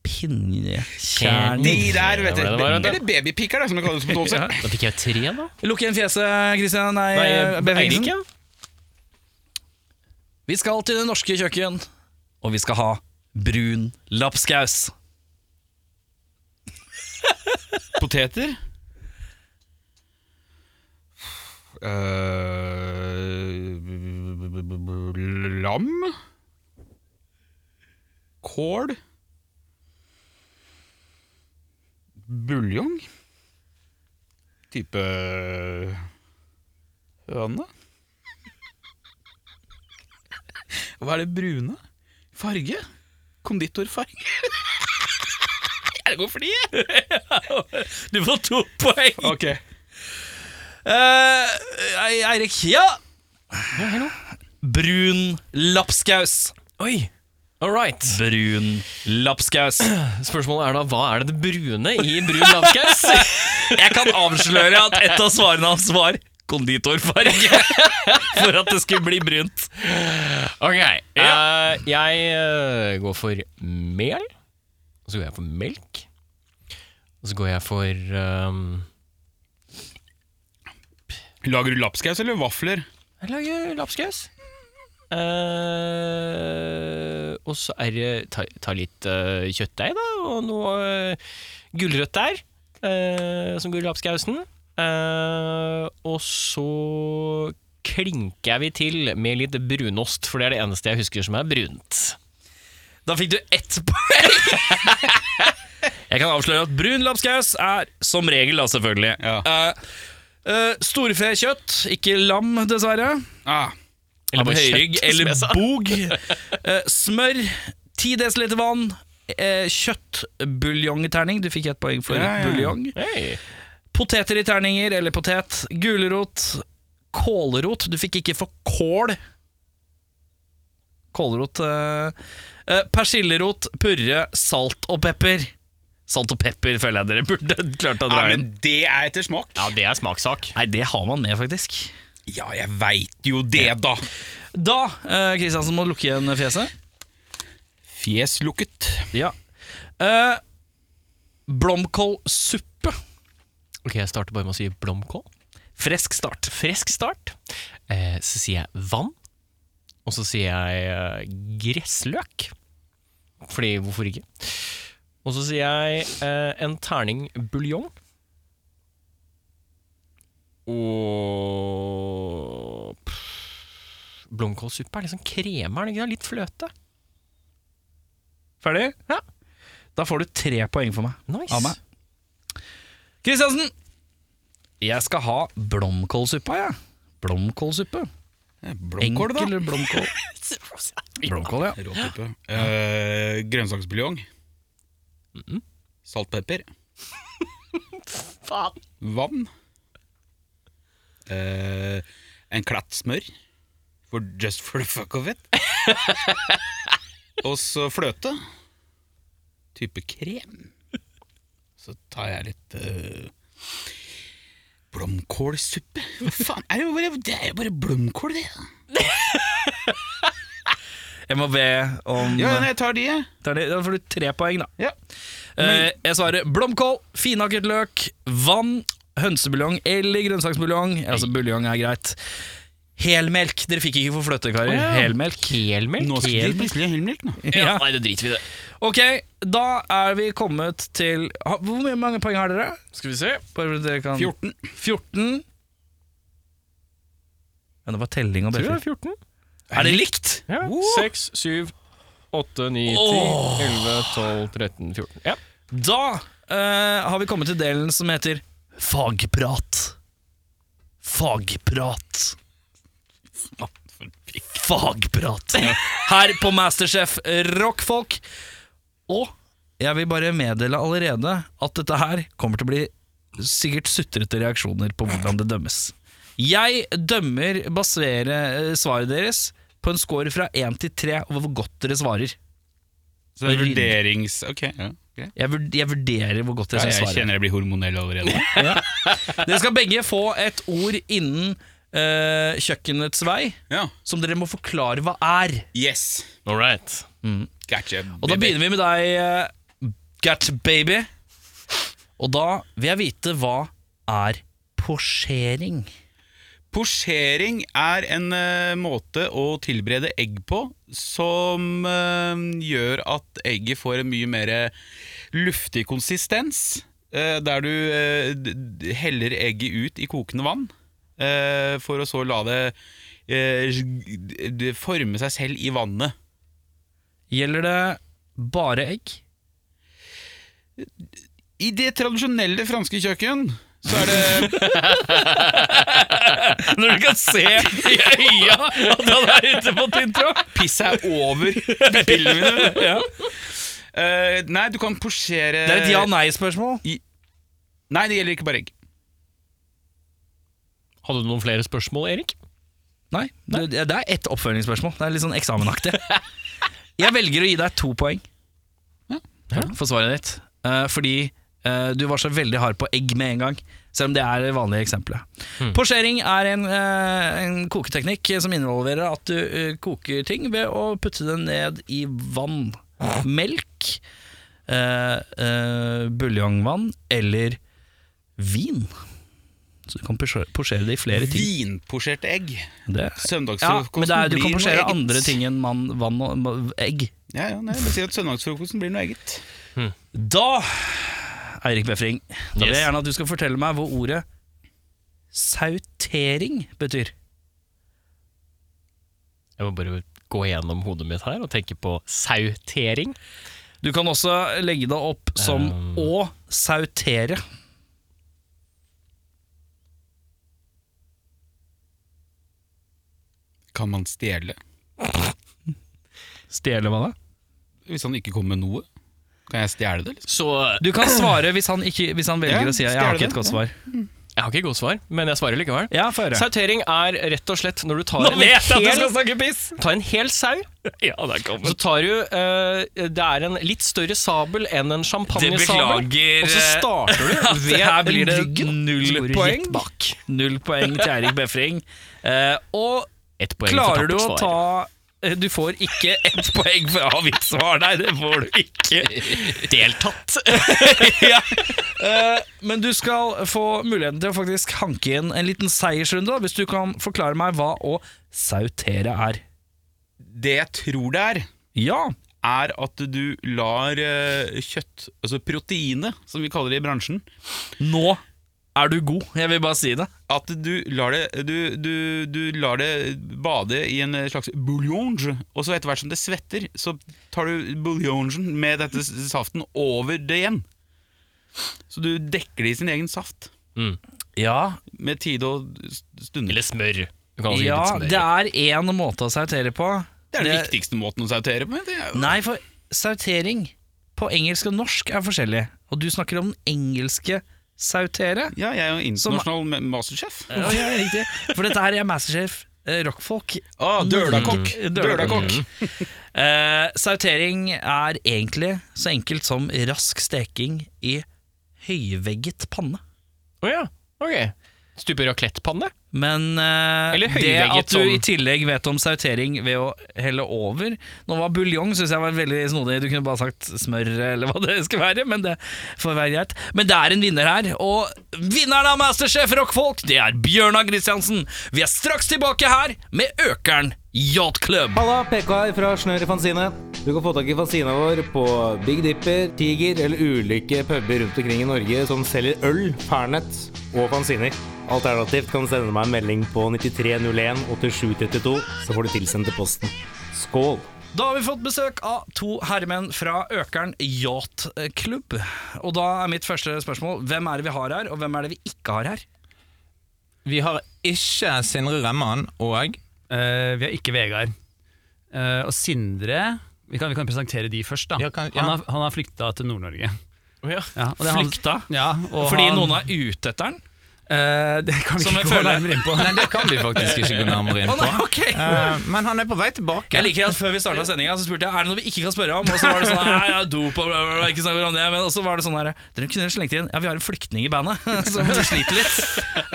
pinjekjern. Kjern. De der, vet du. Det var det, var det. Eller babypikker, da, som det kalles på Tåse. Da fikk jeg tre, da. eh, Lukk igjen fjeset, Christian. Eh, Nei, Nei Eirik, ja. Vi skal til det norske kjøkken, og vi skal ha brun lapskaus. Poteter. Eh, b- b- b- b- b- lam. Kål. Buljong. Type eh, høne. Hva er det brune? Farge? Konditorfarge? Jeg går for de! Du får to poeng. Okay. Eh, Ei- Eirik, ja? Brun lapskaus. Oi. All right. Brun lapskaus. Spørsmålet er da hva er det det brune i brun lapskaus? Jeg kan avsløre at et av svarene hans var konditorfarge. For at det skulle bli brunt. ok, eh, jeg eh, går for mel. Og så går jeg for melk. Og så går jeg for ehm, Lager du lapskaus eller vafler? Jeg lager lapskaus. Eh, og så er det ta, ta litt eh, kjøttdeig, da, og noe uh, gulrøtter. eh, som går i lapskausen. Eh, og så klinker vi til med litt brunost, for det er det eneste jeg husker som er brunt. Da fikk du ett poeng! Jeg kan avsløre at brun lapskaus er som regel, da, selvfølgelig. Ja. Eh, eh, Storfekjøtt, ikke lam, dessverre. Ah, Eller Av bare høyrygg kjøtt, eller som jeg sa. bog. Eh, smør, 10 dl vann. eh, Kjøtt, buljong i terning. Du fikk ett poeng for Ja, ja. buljong. Hei. Poteter i terninger, eller potet. Gulrot. Kålrot. Du fikk ikke for kål. Kålrot eh, eh, Persillerot, purre, salt og pepper. Salt og pepper føler jeg dere burde klart å ja, dra inn. men det er etter smak. Ja, det er smakssak. Nei, det har man med, faktisk. Ja, jeg veit jo det, da. Da, eh, Kristiansen, må du lukke igjen fjeset. Fjes lukket. Ja. Eh, blomkålsuppe. Ok, Jeg starter bare med å si blomkål. Fresk start. Fresk start. Eh, så sier jeg vann. Og så sier jeg eh, gressløk. Fordi hvorfor ikke? Og så sier jeg eh, en terning buljong. Og pff, Blomkålsuppe er liksom kremer, er det ikke det? Litt fløte. Ferdig? Ja. Da får du tre poeng for meg. Nice. Av meg. Kristiansen! Jeg skal ha blomkålsuppa, jeg. Blomkålsuppe. Blomkål, da. Enkel blomkål. blomkål, ja. Rå type. Eh, grønnsaksbuljong. Saltpepper. Faen. Vann. Eh, en klatt smør. For just for the fuck of it. Og så fløte. Type krem. Så tar jeg litt eh, blomkålsuppe. Hva faen? Er det, jo bare, det er jo bare blomkål, det. Jeg må be om Ja, jeg tar de, jeg. Da er det- Da får du tre poeng, da. Ja. Eh, jeg svarer blomkål, finhakket løk, vann, hønsebuljong eller grønnsaksbuljong. Altså, buljong er greit. Helmelk. Dere fikk ikke for fløte, karer. Helmelk. Helmelk? Nå skal de plutselig ha helmelk, nå. Ja, nei, det driter vi i. det. Ok, da er vi kommet til ha, Hvor mye- mange poeng har dere? Skal vi se. Bare for at dere kan 14. 14. Ja, det var telling og Tror jeg det bjeffer. er 14. Er det likt? Ja. Wow. 6, 7, 8, 9, 10, 11, 12, 13, 14. Ja. Da eh, har vi kommet til delen som heter fagprat. Fagprat. Fagprat. Her på Masterchef Rockfolk. Og jeg vil bare meddele allerede at dette her kommer til å bli sikkert sutrete reaksjoner på hvordan det dømmes. Jeg dømmer basere eh, svaret deres på en score fra 1 til 3 over hvor godt dere svarer. Så det er vurderings... Ok, ja. ok. Jeg, vurd- jeg vurderer hvor godt Ja, dere skal jeg svare. kjenner jeg blir hormonell allerede. Dere skal begge få et ord innen eh, kjøkkenets vei Ja. som dere må forklare hva er. Yes. All right. Gotcha. Og da begynner vi med deg, eh, Gert Baby. Og da vil jeg vite hva er posjering. Posjering er en eh, måte å tilberede egg på som eh, gjør at egget får en mye mer luftig konsistens. eh, der du eh, d- d- heller egget ut i kokende vann, eh, for å så la det eh, g- d- forme seg selv i vannet. Gjelder det bare egg? I det tradisjonelle franske kjøkken så er det Når du kan se i øya at han er ute på tintro! Pisse er over pupillene mine. Ja. Eh, nei, du kan posjere Det er et ja-nei-spørsmål. Nei, det gjelder ikke bare egg. Hadde du noen flere spørsmål, Erik? Nei, det, det er ett oppfølgingsspørsmål. Det er litt sånn eksamenaktig. Jeg velger å gi deg to poeng for svaret ditt. Eh, fordi eh, du var så veldig hard på egg med en gang, selv om det er det vanlige eksempelet. Posjering er en, eh, en koketeknikk som involverer at du eh, koker ting ved å putte det ned i vann. Melk, eh, eh, buljongvann eller vin. Så du kan posje- posjere det i flere ting. Vinposjerte egg. Det ja, Søndagsfrokosten men det er, du blir kan noe posjere eget. andre ting enn mann, vann og ma- egg. Ja, ja, nei, jeg vil si at Søndagsfrokosten blir noe eget. Da Eirik Befring, da vil Yes. jeg gjerne at du skal fortelle meg hva ordet sautering betyr. Jeg må bare gå gjennom hodet mitt her og tenke på sautering. Du kan også legge det opp som Um. å sautere. Kan man stjele? Stjeler man det? Hvis han ikke kommer med noe, kan jeg stjele det? Liksom? Så Du kan svare hvis han, ikke, hvis han velger Ja, å si at jeg har stjeler ikke et godt det. svar. jeg har ikke godt svar, men jeg svarer likevel. Ja, få høre. Sautering er rett og slett når du tar en snakke piss! tar en hel sau, Ja, der kom så den. tar du eh, Det er en litt større sabel enn en champagnesabel. Og så starter du ved Her blir det ryggen. Så går null du poeng. rett bak. Null poeng til Eirik Befring. Eh, og Ett poeng klarer for du å tappert svar. ta eh, Du får ikke ett poeng for avgitt svar, nei, det får du ikke. Deltatt! ja. Eh, men du skal få muligheten til å faktisk hanke inn en liten seiersrunde, da, hvis du kan forklare meg hva å sautere er. liksom? Det jeg tror det er, Ja, er at du lar eh, kjøtt, altså proteinet, som vi kaller det i bransjen, nå er du god, jeg vil bare si det. at du lar det, du, du, du lar det bade i en slags bouillonge, og så etter hvert som det svetter, så tar du bouillongen med dette s- saften over det igjen. Så du dekker det i sin egen saft, Ja, med tid og s- stunder. Eller smør. Du kan også gi ja litt smør. det er én måte å sautere på. Det er den viktigste måten å sautere på. Det er jo Nei, for sautering på engelsk og norsk er forskjellig. Og du snakker om den engelske sautere. ja, jeg er jo internasjonal ma- Eh, masterchef. Ja, Eh, ja, riktig. For dette her er Masterchef eh, rockfolk. Ah, dølakokk! Mm. Dølakokk! Eh, sautering er egentlig så enkelt som rask steking i høyvegget panne. Å ja, ok. Stupe raclettepanne? Men eh, Eller det høyvegget at du sånn. i tillegg vet om sautering ved å helle over Nå var buljong synes jeg var veldig snodig, du kunne bare sagt smør eller hva det skal være, men det får være greit. Men det er en vinner her, og vinneren av Masterchef Rockfolk, det er Bjørnar Kristiansen. Vi er straks tilbake her med Økern Yacht Club. Halla, PK her fra Snør i Fanzine. Du kan få tak i fanzina vår på Big Dipper, Tiger eller ulike puber rundt omkring i Norge som selger øl, pernett og fanziner. Alternativt kan du sende meg en melding på 9301 8732, så får du tilsendt til posten. Skål! Da har vi fått besøk av to herremenn fra Økern Yachtklubb. Og da er mitt første spørsmål hvem er det vi har her, og hvem er det vi ikke har her? Vi har ikke Sindre Remman og Eh, vi har ikke Vegard. Eh, og Sindre vi kan, vi kan presentere de først. da Ja, kan- ja. Han, har, han har flykta til Nord-Norge. Å ja. Ja, og det er han- Flykta? Ja, og Fordi han, noen er ute etter den? eh, Det kan vi Som ikke jeg gå føler- nærmere inn på. Nei, det kan vi faktisk ikke gå nærmere inn Å på. nei, ok Eh, men han er på vei tilbake. Jeg liker at Før vi starta sendinga, spurte jeg er det noe vi ikke kan spørre om. Og så var det sånn Nei, jeg er dop og bla, bla, bla, ikke snakker om det. Men så var det sånn her Dere kunne slengt inn Ja, vi har en flyktning i bandet som sliter litt.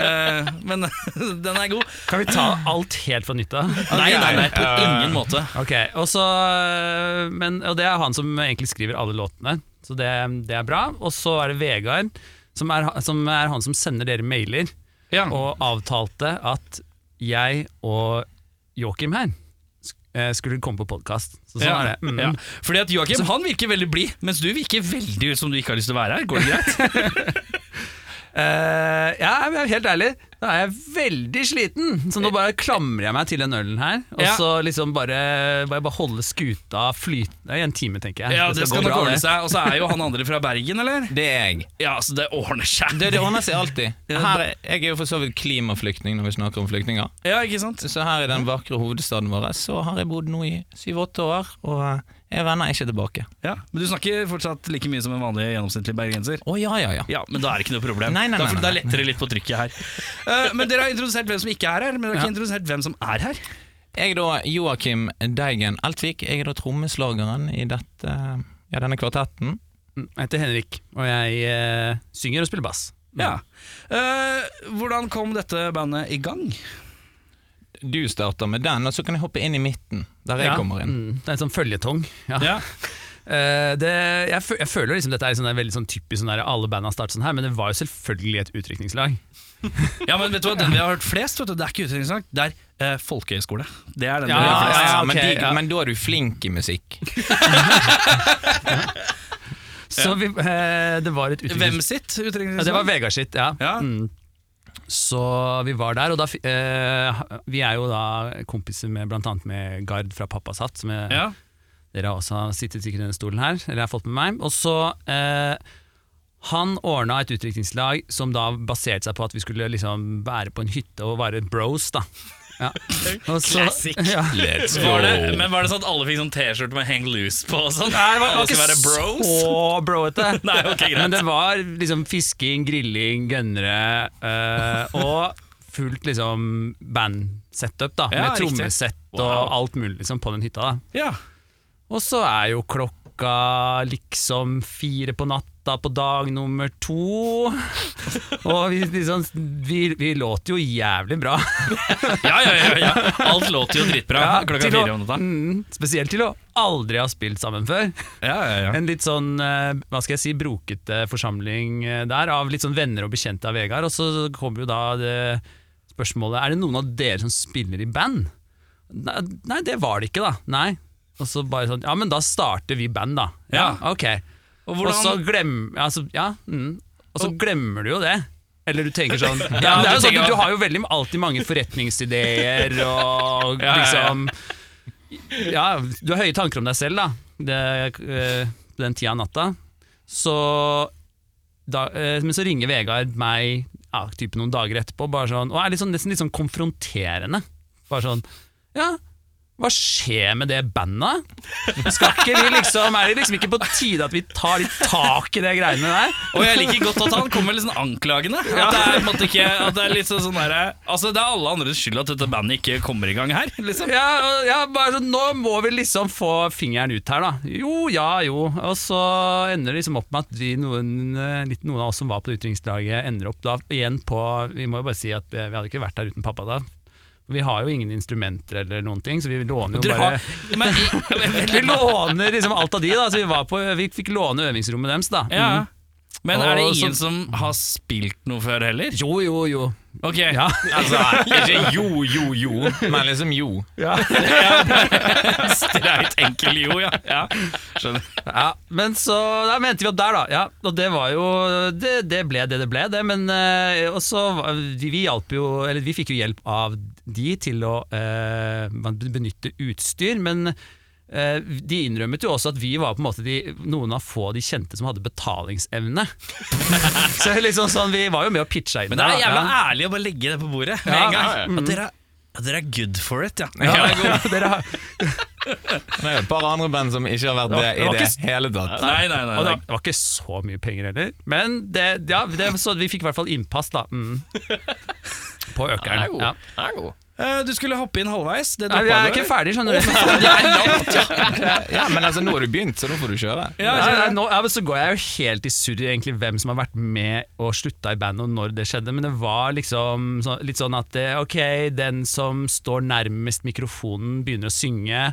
Eh, men den er god. Kan vi ta alt helt fra nytt av? Nei, nei, nei, på Eh, ingen måte. Ok, og så eh, men, Og det er han som egentlig skriver alle låtene Så det, det er bra Og så er det Vegard som er, ha- som er han som sender dere mailer Ja. Og avtalte at jeg og Joachim her sk- eh, Skulle komme på podcast Så sånn Ja. er det mm. Ja. Fordi at Joakim han virker veldig blid, mens du virker veldig ut som du ikke har lyst til å være her. Går det greit? Eh, ja, men jeg er helt ærlig Da er jeg veldig sliten Så nå bare klamrer jeg meg til den ølen her Og Ja. så liksom bare, bare, bare holde skuta flytende I en time tenker jeg Ja, det skal gå nok bra, ordne det. seg. Og så er jo han andre fra Bergen, eller? Det er jeg. Ja, så det ordner seg. Det, det ordner seg alltid. Her, er- jeg er jo for så vidt klimaflyktning når vi snakker om flyktninger. Ja, ikke sant? Så her i den vakre hovedstaden vår så har jeg bodd nå i syv-åtte år, og eh, jeg vender ikke tilbake. Ja. Men du snakker fortsatt like mye som en vanlig gjennomsnittlig bergenser? Å ja, ja, ja. Ja, men da er det ikke noe problem. Nei, nei, da, nei, nei, da letter det litt på trykket her. Eh, men dere har introdusert hvem som ikke er her, men dere har ikke introdusert hvem som er her. Jeg er da Joakim Deigen Eltvik. Jeg er da trommeslageren i dette, ja, denne kvartetten. Jeg heter Henrik, og jeg eh, synger og spiller bass. Ja. Eh, hvordan kom dette bandet i gang? Du starter med den, og så kan jeg hoppe inn i midten, der jeg Ja. kommer inn. Mm, det er en sånn føljetong. Ja. Eh, det, jeg, fø- jeg føler liksom dette er sånn der, veldig sånn typisk sånn der, alle banda starter sånn her, men det var jo selvfølgelig et utrykningslag. Ja, men vet du hva, Den vi har hørt flest, vet du, det er ikke utdanningssak, det er eh, folkehøyskole. Det er den Ja, vi har hørt Ja, flest. ja, ja, ok, men, de, ja. men da er du flink i musikk. Så vi, eh, det var et Hvem utviklings... sitt Ja, det var Vegard sitt, ja. Ja. Mm. Så vi var der, og da fi- eh, Vi er jo da kompiser med blant annet med Gard fra Pappas hatt, som jeg, Ja. dere har også sittet sikkert i denne stolen her, eller har fått med meg. Og så eh, Han ordna et utdrikningslag som da baserte seg på at vi skulle liksom være på en hytte og være bros, da. Ja. Og så- Ja. Let's Var det, men var det sånn at alle fikk sånn T-skjorte med 'hang loose' på? og Sånn? Nei, det var, alle det var ikke skulle være bros? så broete. Nei, ok, greit. Men det var liksom fisking, grilling, gønnere eh, og fullt liksom band-setup, da. Ja, med riktig. trommesett Wow. og alt mulig liksom, på den hytta. da Ja. Og så er jo klokka liksom fire på natta på dag nummer to. Og vi, liksom, vi, vi låter jo jævlig bra. Ja, ja, ja, ja. Alt låter jo dritbra Ja, klokka til fire å- om natta. Mm, spesielt til å aldri ha spilt sammen før. Ja, ja, ja. En litt sånn, eh, hva skal jeg si, brokete forsamling eh, der, av litt sånn venner og bekjente av Vegard. Og så kommer jo da det spørsmålet Er det noen av dere som spiller i band. Nei, nei, det var det ikke, da. Nei. Og så bare sånn Ja, men da starter vi band, da. Ja. ok. Og, hvordan- så glem, altså, ja, mm, og så glemmer du jo det. Eller du tenker sånn ja, men det er jo du sånn, tenker- Du har jo veldig alltid mange forretningsideer og Ja, ja, ja. liksom ja, du har høye tanker om deg selv da det, eh, På den tida av natta Så da, eh, Men så ringer Vegard meg ja, typ Noen dager etterpå bare sånn, Og er litt sånn, nesten litt sånn konfronterende Bare sånn, ja hva skjer med det bandet? Skal ikke vi liksom, er det liksom ikke på tide at vi tar litt tak i det greiene der? Og jeg liker godt at han kommer litt sånn anklagende. At det er, på en måte ikke, at det er litt sånn sånn derre Altså, det er alle andres skyld at dette bandet ikke kommer i gang her. Liksom. Ja, og- ja, bare sånn, nå må vi liksom få fingeren ut her, da. Jo, ja, jo. Og så ender det liksom opp med at vi noen, eh, litt noen av oss som var på det utdrikningslaget, ender opp da igjen på Vi må jo bare si at vi vi hadde ikke vært der uten pappa da. Vi har jo ingen instrumenter eller noen ting, så vi låner jo Dere har, bare men, Vi låner liksom alt av de, da. Så vi, var på, vi fikk låne øvingsrommet deres, da. ja. Mm. men er det Og ingen så- som har spilt noe før heller? Jo, jo, jo. Ok, Ja. altså, ikke jo, jo, jo. Men liksom jo. Streit enkel jo, ja. ja. Skjønner. Ja, men så da mente vi at der da ja, Og det var jo, det, det ble det det ble det Men eh, og så var- vi, vi hjalp jo, eller vi fikk jo hjelp av de til å eh, man benytte utstyr Men eh, de innrømmet jo også at vi var på en måte de, noen av få de kjente som hadde betalingsevne Så liksom sånn, vi var jo med og pitcha inn Men det er der, da. jævla ja. ærlig å bare legge det på bordet med Ja, en gang. ja, ja. At dere, at dere er good for it, ja. Ja, dere har- Det er jo et par andre band som ikke har vært det det i var det ikke- hele tatt. Nei, nei, nei. og nei. det var- det var ikke så mye penger heller Men det, ja, det, så vi fikk i hvert fall innpass da mm. På Den er økeren god. ja. Den er god. Eh, Du skulle hoppe inn halvveis. Det Nei, vi droppa er du. ikke ferdig, skjønner du. Nei, Ja, Men altså, nå har du begynt, så nå får du kjøre. nei, nei, nå, ja, men så går jeg jo helt i surr egentlig hvem som har vært med og slutta i bandet, og når det skjedde, men det var liksom så, litt sånn at det, ok, den som står nærmest mikrofonen, begynner å synge.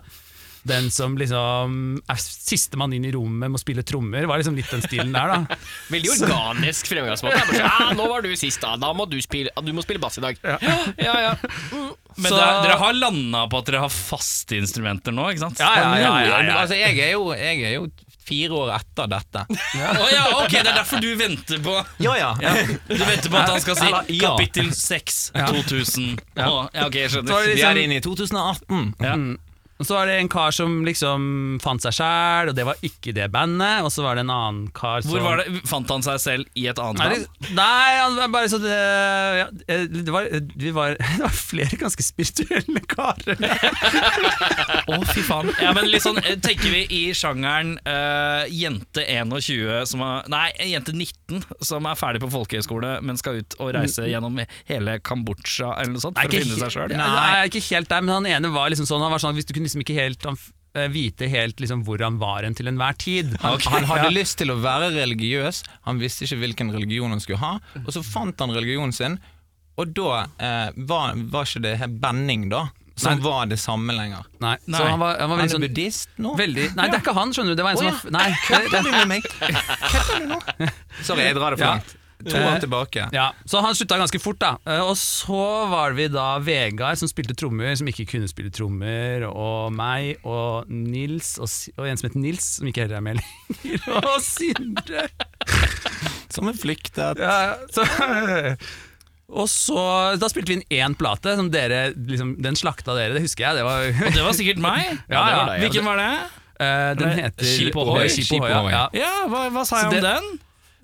Den som liksom er sistemann inn i rommet, må spille trommer. Var liksom litt den stilen der, da. Veldig organisk fremgangsmåte. Jeg bare sånn, «Ah, nå var du sist, da. Da må du spille, ah, du må spille bass i dag. Ja, ja. ja. Men Så- dere, dere har landa på at dere har faste instrumenter nå, ikke sant? Ja, ja, ja, ja, Men ja. Altså, jeg er, jo, jeg er jo fire år etter dette. Å ja, ok, Det er derfor du venter på Ja, ja. Du venter på at han skal si Eller, ja. kapittel 6 2000. Ja. ja, ok, jeg Så var skjønner. det Vi liksom- er inne i 2018. Mm. Og så var det en kar som liksom fant seg sjæl, og det var ikke det bandet. Og så var det en annen kar som Hvor var det? Fant han seg selv i et annet Nei, band? det- nei, han var bare sånn eh, ja, eh, det, var, eh, vi var, det var flere ganske spirituelle karer. Å, fy faen. Ja, men litt sånn, eh, Tenker vi i sjangeren eh, jente 21 som er, Nei, jente 19 som er ferdig på folkehøyskole, men skal ut og reise gjennom hele Kambodsja eller noe sånt for å finne seg sjøl? Nei. jeg er ikke helt der, men han ene var liksom sånn Han var sånn at hvis du kunne liksom ikke helt han, f- eh, vite helt liksom hvor han var hen til enhver tid. Han, han hadde lyst til å være religiøs, han visste ikke hvilken religion han skulle ha. Og så fant han religionen sin, og da eh, var, var ikke det her banning, da, som var det samme lenger. Nei, Nei. Så han var, han var Han veldig er sånn buddhist nå. veldig, Nei, det er ikke han, skjønner du. Det var en Å, som var f- Nei, det, Kødder du med meg? Kødder du nå? Sorry, jeg drar det for Ja. langt. To år tilbake. Ja, Så han slutta ganske fort, da. Eh, Og så var vi da Vegard som spilte trommer, som ikke kunne spille trommer, og meg og Nils, og, Si- og en som het Nils, som ikke heller er med lenger, og Sindre. Som er flyktet. Ja, så, og så Da spilte vi inn én plate, som dere liksom, Den slakta dere, det husker jeg. Det var, Det var sikkert meg. Ja, ja. Hvilken var det? Eh, den heter Skip Ohoi. Skip Skip Ohoi, Ohoi. ja. Ja, hva, hva sa Så jeg om det- den?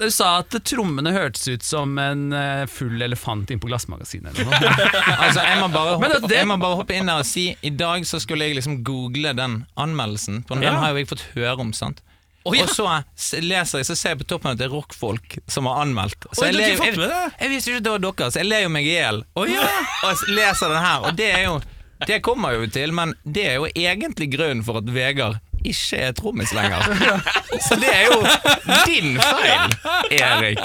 Du sa at trommene hørtes ut som en eh, full elefant innpå glassmagasinet. Eller noe. Altså, jeg må, bare Men hoppe, det- jeg må bare hoppe inn der og si I dag så skulle jeg liksom google den anmeldelsen. For den Ja. har jo jeg fått høre om. sant? ja. Og så s- leser jeg, så ser jeg på toppen at det er rockfolk som har anmeldt. Så Oi, du har jeg, ler ikke jo- fått med jeg, det? jeg visste ikke at det var dere, så jeg ler jo meg i hjel. Og s- leser den her. Og det er jo Det kommer jo til, men det er jo egentlig grunnen for at Vegard ikke er trommis lenger. Så det er jo din feil, Erik.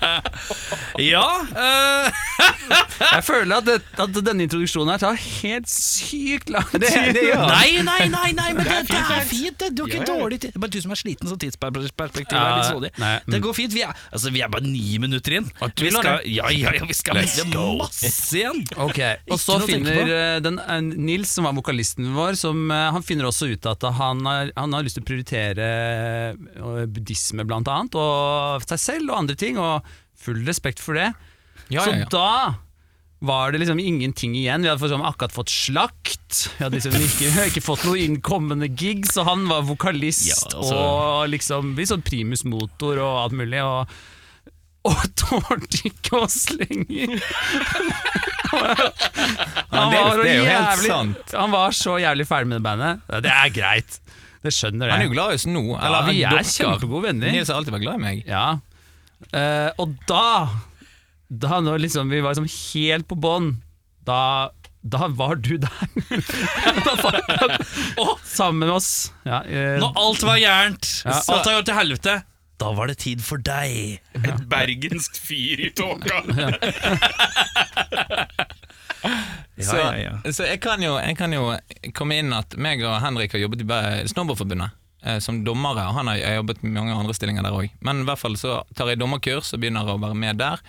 Ja, eh, Jeg føler at, det, at denne introduksjonen her tar helt sykt lang tid. Nei, nei, nei, nei, men det, det er fint. Det, du er ikke dårlig til. Det er bare du som er sliten, så tidsperspektivet er litt Ja, snodig. nei, mm. Det går fint. Vi er, altså, vi er bare ni minutter inn. du Vi vil ha skal, ja, ja, ja, vi skal melde masse igjen. Ok, Og så noe å tenke finner på. eh, den, eh, Nils, som var vokalisten vår, som, eh, han finner også ut at han har, han har lyst til å prioritere eh, buddhisme, blant annet, og seg selv og andre ting, og full respekt for det. Ja, så ja, ja. da var det liksom ingenting igjen. Vi hadde for eksempel akkurat fått slakt. Vi hadde liksom ikke, ikke fått noe innkommende gigs, og han var vokalist Ja, altså. og liksom litt sånn primus motor og alt mulig. Og, og tålte ikke oss lenger. Han det er- var, det er jo jo helt jævlig, sant. han var så jævlig ferdig med det bandet. Ja, Det er greit. Det skjønner Han er jeg. jo glad i oss nå. Ja, Eller vi er dere. kjempegode venner. Nils har alltid vært glad i meg. Ja. Eh, og da Da når liksom vi var liksom helt på bånn, da, da var du der. da var, Å, sammen med oss. Ja, eh, Når alt var gærent, Ja. alt har gått til helvete, da var det tid for deg. Et bergensk fyr i tåka. Så, så jeg, kan jo, jeg kan jo komme inn at meg og Henrik har jobbet i Be- Snowboardforbundet eh, som dommere. og Han har jeg har jobbet med mange andre stillinger der òg. Men i hvert fall så tar jeg dommerkurs og begynner å være med der.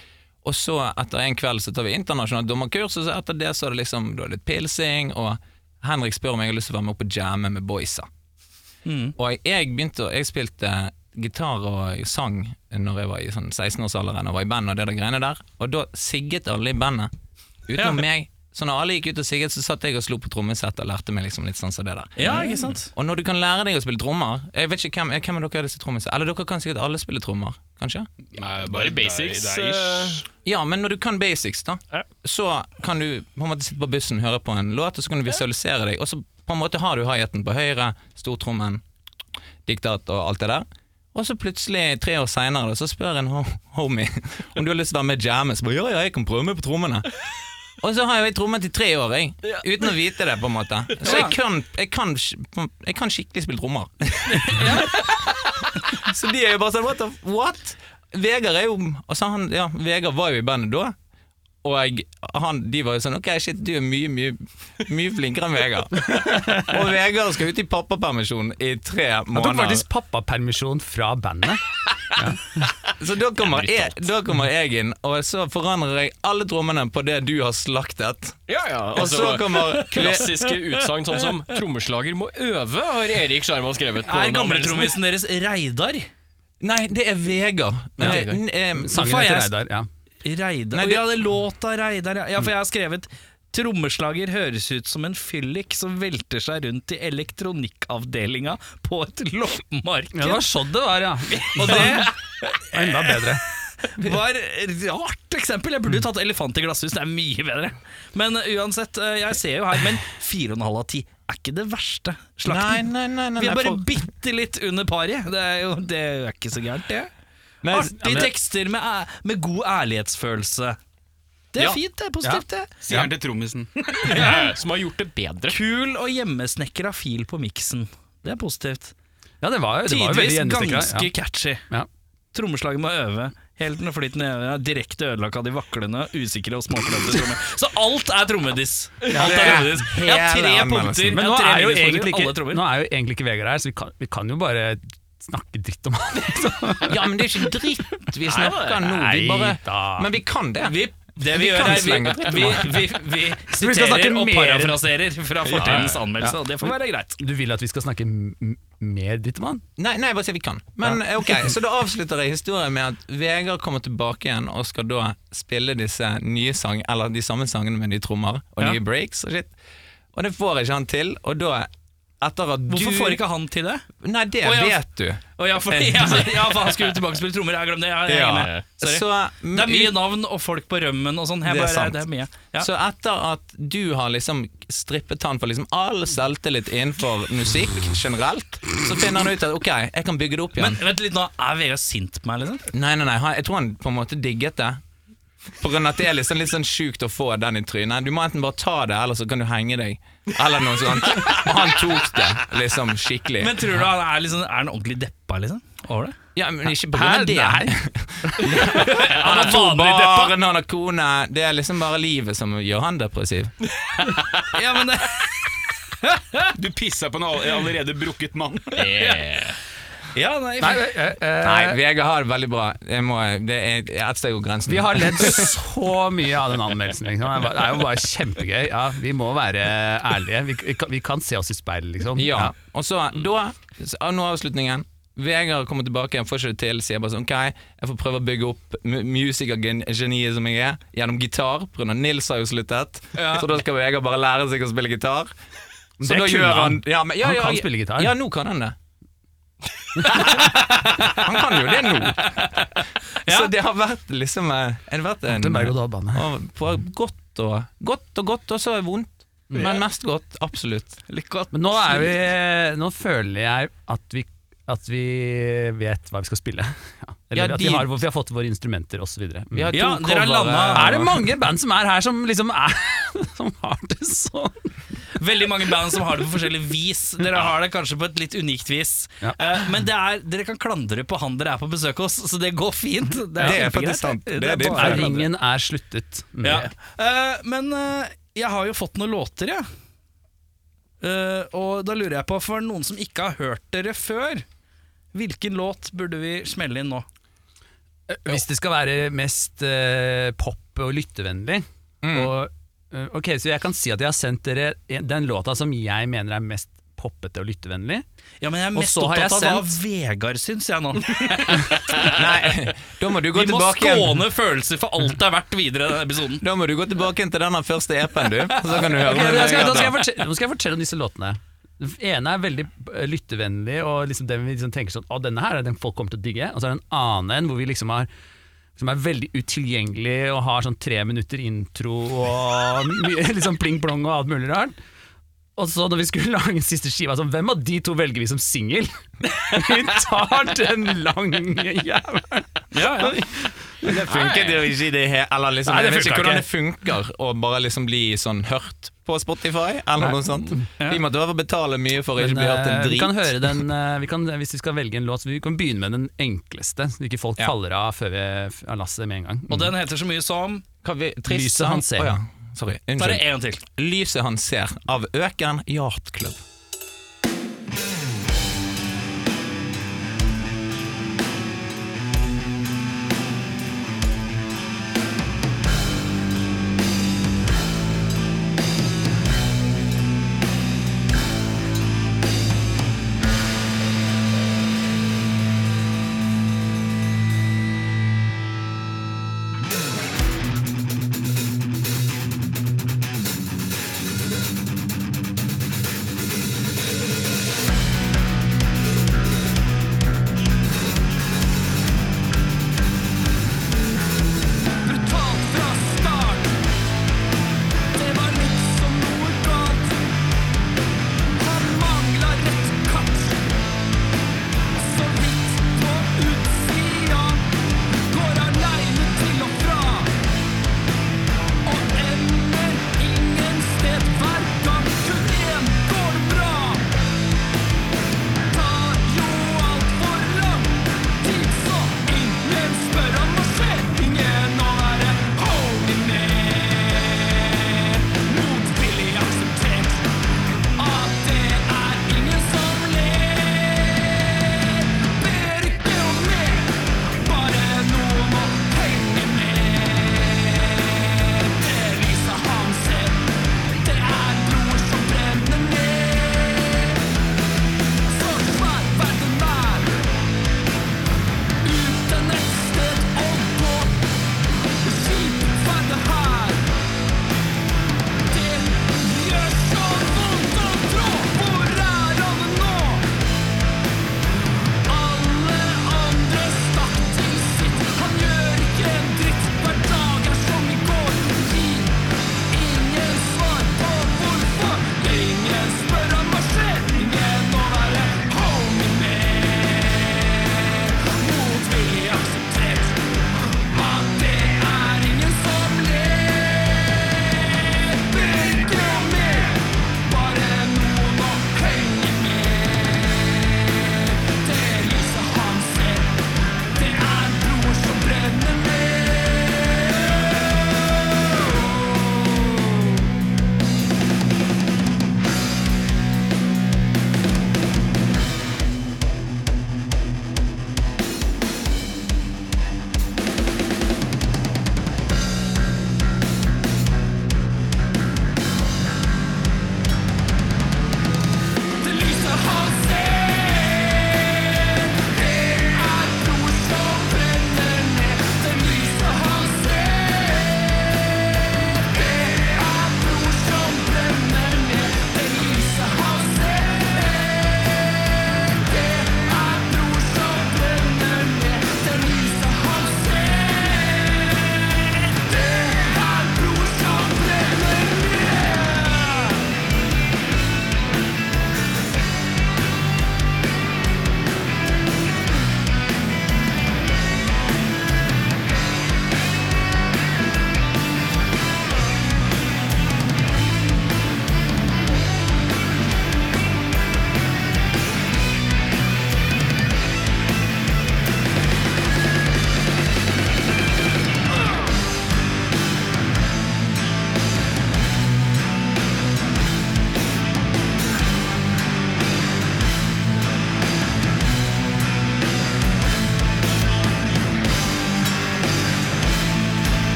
Og så etter en kveld så tar vi internasjonalt dommerkurs, og så etter det så er det liksom da er det litt pilsing, og Henrik spør om jeg har lyst til å være med opp og jamme med boysa. Og jeg begynte å- Jeg spilte gitar og sang Når jeg var i sånn 16-årsalderen Og var i band og det der greiene der Og da sigget alle i bandet Utenom meg Så når alle gikk ut og sigget Så satt jeg og slo på trommesett Og lærte meg liksom litt sånn som det der Ja, ikke sant? Og når du kan lære deg å spille trommer Jeg vet ikke hvem, eh, hvem av dere er disse trommesett Eller dere kan sikkert alle spille trommer Kanskje? Nei, Bare basics. Det er, det eh, er ish. Ja, men når du kan basics da Ja. Så kan du på en måte sitte på bussen Høre på en låt Og så kan du visualisere deg Og så på en måte har du hi-haten på høyre Stortrommen Diktat og alt det der Og så plutselig tre år senere da, Så spør en ho- homie Om du har lyst til å være med i jammet Så bare ja, ja, jeg kan prøve meg på trommene og så har jo jeg trommet i tre år, jeg, uten å vite det. på en måte Så jeg kan, jeg kan, sk- jeg kan skikkelig spille trommer. Så de er jo bare sånn What? the- what? Vegard er jo altså han, ja, Vegard var jo i bandet da. Og jeg, han, de var jo sånn Ok, shit, du er mye, mye Mye flinkere enn Vegard. og Vegard skal ut i pappapermisjon i tre han tok måneder. faktisk pappapermisjon fra bandet. Så da kommer, jeg, da kommer jeg inn, og så forandrer jeg alle trommene på det du har slaktet. Ja, ja, Og så kommer Klassiske utsagn sånn som 'trommeslager må øve', har Erik Sjarma skrevet. på Er den anmeldelsen. gamletrommisen deres Reidar? Nei, det er Vegard. Ja. Eh, n- eh, Sangen faen, heter jeg- Reidar. Ja. Reidar Nei, Nei, det- Ja, det er låta Reidar ja. ja, for jeg har skrevet Trommeslager høres ut som en fyllik som velter seg rundt i elektronikkavdelinga på et loppemarked. Ja, det var sånn det var, ja. Og det Enda bedre. var et rart eksempel. Jeg burde jo tatt elefant i glasshus, det er mye bedre. Men uh, uansett, uh, jeg ser jo her Men 4,5 av 10 er ikke det verste Nei, slakten. nei, nei, nei, Vi nei, er bare folk- bitte litt under pariet. Det er jo det er ikke så gærent, det. Nei, Artige tekster med, æ- med god ærlighetsfølelse. Det er fint, det er positivt, det. Sier han til trommisen. Ja, Som har gjort det bedre. Kul og hjemmesnekra fil på miksen. Det er positivt. Ja, det var jo, det var jo Tidvis veldig ganske gjennomstekra. catchy. Ja. Trommeslaget må øve. Helten og flyten i øvene er direkte ødelagt av de vaklende, usikre og småklønete trommer. Så alt er trommediss! Alt er trommediss. Jeg har hele tre punkter. anmeldelsen. Men nå jeg har tre er, jo minutter, egentlig ikke, alle trommer. nå er jo egentlig ikke Vegard her, så vi kan, vi kan jo bare snakke dritt om han. liksom. Ja, men det er ikke dritt vi snakker nå. Vi Nei bare, da. men vi kan det. Vi, det vi, Vi gjør kan er vi, slenge dritt om vi, vi, vi skal snakke siterer og mer- parafraserer fra fortidens anmeldelse, og det får være greit. Du vil at vi skal snakke m mer dritt om han? Nei, nei, bare si vi kan. Men eh, ok, Så da avslutter jeg historien med at Vegard kommer tilbake igjen og skal da spille disse nye sang, eller de samme sangene med nye trommer og nye breaks og shit. Og det får ikke han til, og da etter at du Hvorfor får ikke han til det? Nei, det Å, ja. vet du. Å, ja, for, ja, ja, for han skulle tilbake og spille trommer. Jeg glemte det. Jeg, jeg, er med. Sorry. Så, det er mye navn og folk på rømmen og sånn. Jeg Det er bare- sant. Det er mye. Ja. Så etter at du har liksom strippet han for liksom all selvtillit innenfor musikk generelt, så finner han ut at ok, jeg kan bygge det opp Men igjen. vent litt nå, er Vegard sint på meg, liksom? Nei, nei, nei, han- jeg tror han på en måte digget det. På grunn av at det er liksom litt sånn sjukt å få den i trynet. Du må enten bare ta det, eller så kan du henge deg. Eller noe sånt. Og han tok det liksom skikkelig. Men tror du han er, liksom, er han ordentlig deppa, liksom? Over det? ja, men ikke på grunn av det. Hæ? Han har to vanlig deppa. barn, han har kone. Det er liksom bare livet som gjør han depressiv. Ja, men det, Du pissa på en all- allerede brukket mann. ja, nei, Eh, Nei, eh, Vegard har det veldig bra. Jeg må, det er et sted går grensen. Vi har ledd så mye av den anmeldelsen. Liksom. Det er jo bare kjempegøy. Ja, vi må være ærlige. Vi, vi, kan, vi kan se oss i speilet, liksom. Ja. Og så, da, så av- nå avslutningen. Vegard kommer tilbake igjen, får ikke det til, sier bare sånn OK, jeg får prøve å bygge opp mu- musikergeniet som jeg er, gjennom gitar, pga. Nils har jo sluttet. Så da skal Vegard bare lære seg å spille gitar. Så Det da kunne gjør han han. ja, men, ja, Han ja, kan ja, spille gitar. Ja, nå kan han det. han kan jo det nå. Så det har vært liksom eh, Det har vært en Det er berg- og dalbane. og på godt og godt og godt, og så er vondt. Men mest godt, absolutt. Men nå, er vi, nå føler jeg at vi, at vi vet hva vi skal spille. Ja. Eller Ja, at de- vi har, vi har fått våre instrumenter osv. Vi har to Ja, dere har covere. landet- Er det mange band som er her som liksom er Som har det sånn? Veldig mange band som har det på forskjellig vis. Dere har det kanskje på et litt unikt vis. Ja. Eh, men det er, dere kan klandre på han dere er på besøk hos, så det går fint. Det Det er kjempegreit. faktisk sant. Det er bare- din Nei, ringen er sluttet. Mm. Ja. Eh, men eh, jeg har jo fått noen låter, jeg. Eh, og da lurer jeg på, for noen som ikke har hørt dere før, hvilken låt burde vi smelle inn nå? Hvis det skal være mest eh, pop og lyttevennlig og, eh, Ok, så jeg kan si at jeg har sendt dere en- den låta som jeg mener er mest poppete og lyttevennlig. Ja, men jeg er Og mest så har jeg opptatt av hva Vegard syns, jeg nå. Nei, da må du gå Vi må tilbake igjen. skåne følelser for alt det er verdt videre i denne episoden. Da må du gå tilbake igjen til den første EP-en, du. Så kan du høre Ok, med da skal, Vegard da skal jeg da. fortelle, nå skal jeg fortelle om disse låtene. Den ene er veldig eh, lyttevennlig, og liksom den vi liksom tenker sånn Å, denne her er den folk kommer til å digge. Og så er det en annen en hvor vi liksom har som er veldig utilgjengelig og har sånn tre minutter intro og mye liksom pling-plong og alt mulig rart. Og så når vi skulle lage den siste skiva, sånn Hvem av de to velger vi som singel? vi tar den lange jævelen! Det funket jo ikke i det hele Eller liksom, Nei, det jeg vet funker ikke hvordan ikke. det funker å bare liksom bli sånn hørt på Spotify, eller noe sånt. Vi måtte i hvert fall betale mye for å ikke Men, bli hørt en eh, vi kan drit. høre den eh, vi kan, Hvis vi skal velge en låt, så vi kan begynne med den enkleste, så ikke folk Ja. faller av før vi f- av lasset med en gang. Og den heter så mye som Kan vi- Lyset han ser. Å ja. Sorry. Ta det Unnskyld. en gang til. Lyset han ser av Økern Yacht Club. Lyset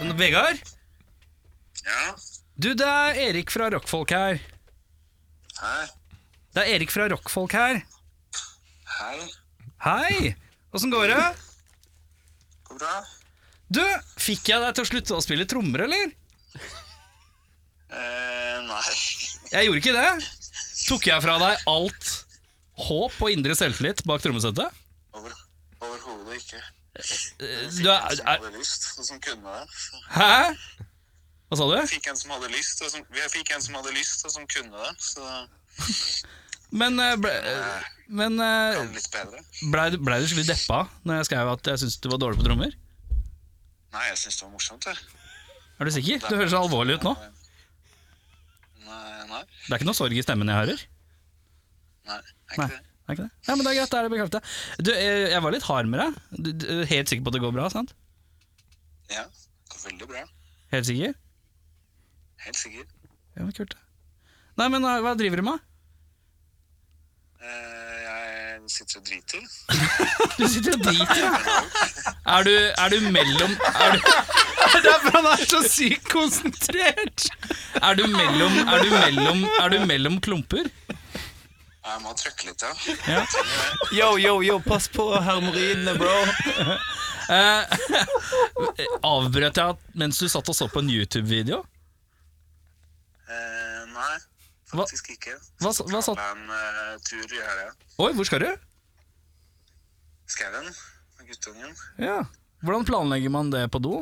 igjen. Vegard? Ja, Du, det er Erik fra Rockfolk her. hei, Det er Erik fra Rockfolk her. hei, Hei! Åssen går det? går bra? Du, fikk jeg deg til å slutte å spille trommer, eller? Eh, nei, Jeg gjorde ikke det. Tok jeg fra deg alt håp og indre selvtillit bak trommesettet? over, overhodet ikke. Du er, Som er hadde lyst, og som kunne det. Hæ? Hva sa du? Fikk en som hadde lyst, og som, jeg fikk en som hadde lyst, og som kunne det, så det Men, eh, ble, eh, men eh, var litt bedre. blei du blei du skikkelig deppa når jeg skrev at jeg syntes du var dårlig på trommer? Nei, jeg synes det var morsomt, jeg. Er du sikker? Du høres så alvorlig ut nå. Nei, nei, Det er ikke noe sorg i stemmen jeg hører. nei, er Nei. ikke det? Er ikke det? Ja, men det er greit, da er det bekreftet. Du, eh, jeg var litt hard med deg. Du, du, er helt sikker på at det går bra? sant? Ja, det går veldig bra. Helt sikker? Helt sikker. Ja, men kult. Nei, men eh, hva driver du med? Eh, jeg sitter og driter. Du sitter og driter, ja. Er du, er du mellom er du, Det er for han er så sykt konsentrert! Er du mellom, er du mellom, er du mellom klumper? Jeg må trøkke litt, ja. Yo, yo, yo, pass på hermoridene, bro! Eh, Avbrøt jeg mens du satt og så på en YouTube-video? Eh, nei, Hva- faktisk ikke. Hva, s- hva satt Planla en eh, tur i helga. Oi, hvor skal du? Skauen og guttungen. Ja. Hvordan planlegger man det på do?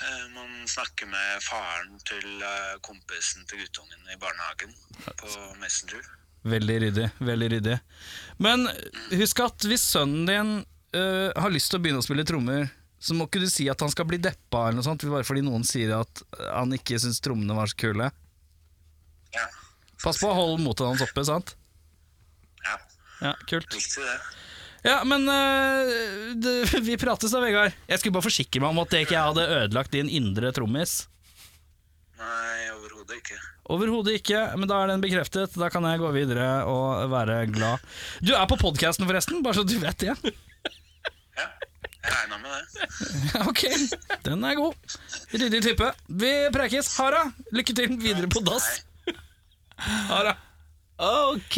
Eh, Man snakker med faren til eh, kompisen til guttungen i barnehagen på Messenger. Veldig ryddig. veldig ryddig Men husk at hvis sønnen din øh, har lyst til å begynne å spille trommer, så må ikke du si at han skal bli deppa, eller noe sånt bare fordi noen sier at han ikke syns trommene var så kule. Ja, Pass på å holde motet hans oppe, sant? ja, Ja, kult. riktig det. Ja, men øh, det, vi prates da, Vegard. Jeg skulle bare forsikre meg om at det ikke jeg hadde ødelagt din indre trommis. Nei, overhodet ikke. Overhodet ikke, men da er den bekreftet. Da kan jeg gå videre og være glad. Du er på podkasten, forresten, bare så du vet det. Ja, jeg regna med det. Ok, den er god. Ryddig type. Vi prekes. Ha det. Lykke til videre på dass. Ha det. Ok!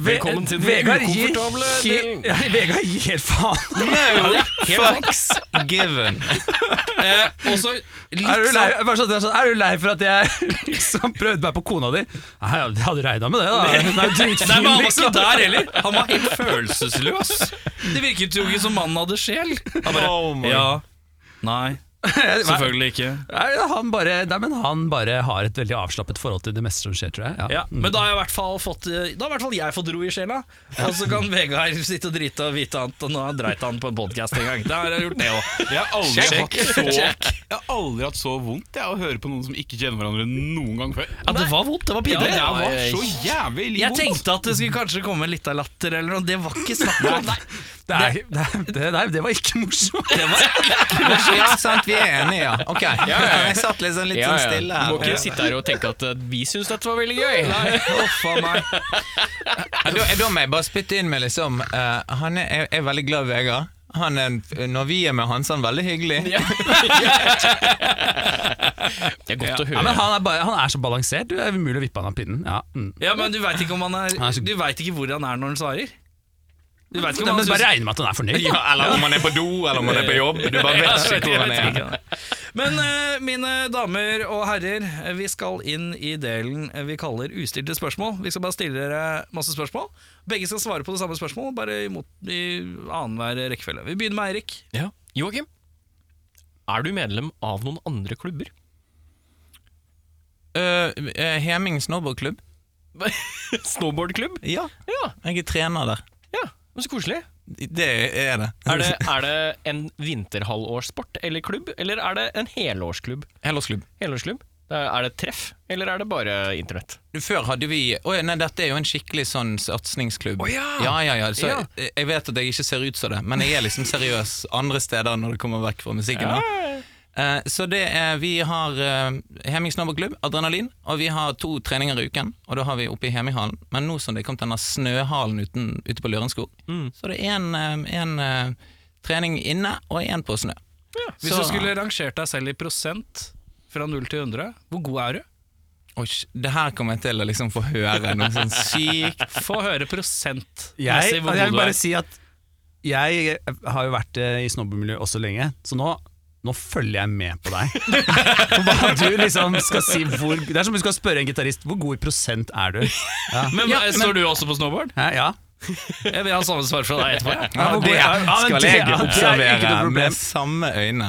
Velkommen til den ukomfortable delen. Vegard gir faen. No fucks given. Også Er litt du, lei, bare sånn, sånn, er du lei for at jeg liksom prøvde meg på kona di? Nei, jeg hadde regna med det, da. Hun er dritfin, Nei, men han var ikke liksom. der heller. Han var helt følelsesløs. Det virket jo ikke som mannen hadde sjel. Han bare Oh Ja. Nei. Selvfølgelig ikke. Nei, han bare, nei, men han bare har et veldig avslappet forhold til det meste som skjer, tror jeg. Ja, Men da har jeg i hvert fall fått eh, Da har i hvert fall jeg fått ro i sjela. Og så kan Vegard sitte og drite og vite annet, og nå har han dreit han på en podkast en gang. Da har jeg gjort det også. Jeg har aldri, hatt så, Check. jeg har aldri hatt så vondt jeg, å høre på noen som ikke kjenner hverandre noen gang før. Ja, det var vondt. Det var pinlig. Det var så jævlig Jeg vondt. tenkte at det skulle kanskje komme litt av latter eller noe. Det var ikke snakk om. Nei, Det, er, det, er- det, nei, det var ikke morsomt. det var, Ja, sant, vi er enige, ja. Ok. Jeg satt litt sånn, litt Ja, ja. sånn stille Du må her. ikke sitte her og tenke at eh, vi syns dette var veldig gøy. Ja, Da, da må jeg bare spytte inn med liksom eh, Han er, jeg er veldig glad i Vegard. Han er, en- når vi er med han, så er han veldig hyggelig. Det er godt å Ja, men høre. han er, bare, han er så balansert. Du er umulig å vippe han av pinnen. Ja, mm. ja, men du veit ikke om han er Du vet ikke hvor han er når han svarer. Du vet ikke Nei, om han men bare synes regner med at han er fornøyd. da. eller om han er på do, eller om han er på jobb. Du bare vet ikke hvor han er. Men eh, mine damer og herrer, eh, vi skal inn i delen eh, vi kaller ustilte spørsmål. Vi skal bare stille dere masse spørsmål. Begge skal svare på det samme spørsmålet, bare i, mot, i annenhver rekkefølge. Vi begynner med Eirik. Ja. Joakim, er du medlem av noen andre klubber? Eh, eh, Heming snowboardklubb. Snowboardklubb? Ja. Ja. Jeg er trener der. ja. Men så koselig. Det er det. Er det, er det en vinterhalvårssport eller klubb, eller er det en helårsklubb? Helårsklubb. Helårsklubb? Det Er er det treff, eller er det bare internett? Før hadde vi Å ja, nei, dette er jo en skikkelig sånn satsingsklubb. ja. Ja, ja, Så Jeg, jeg vet at jeg ikke ser ut som det, men jeg er liksom seriøs andre steder når det kommer vekk fra musikken. da. Eh, så det er Vi har uh, Heming snowboardklubb, Adrenalin, og vi har to treninger i uken. Og da har vi oppe i Heminghallen. Men nå som det kom til denne snøhalen uten, Mm. ute på Lørenskog, så det er en, eh, en eh, trening inne og en på snø. Hvis Så- du skulle rangert deg selv i prosent fra 0 til 100, hvor god er du? Oi, det her kommer jeg til å liksom få høre noe sånn sykt Få høre prosent. Jeg, messig hvor god jeg vil du er. bare si at jeg har jo vært eh, i snobbemiljø også lenge, så nå, nå følger jeg med på deg. For Hva du liksom skal si hvor, Det er som om du skal spørre en gitarist hvor god i prosent er du? Men, hva- Står du også på snowboard? Hæ, ja. Jeg vil ha samme svar fra deg etterpå. jeg. Ja, det skal det- jeg ja, det er ikke noe observere problem. med samme øyne.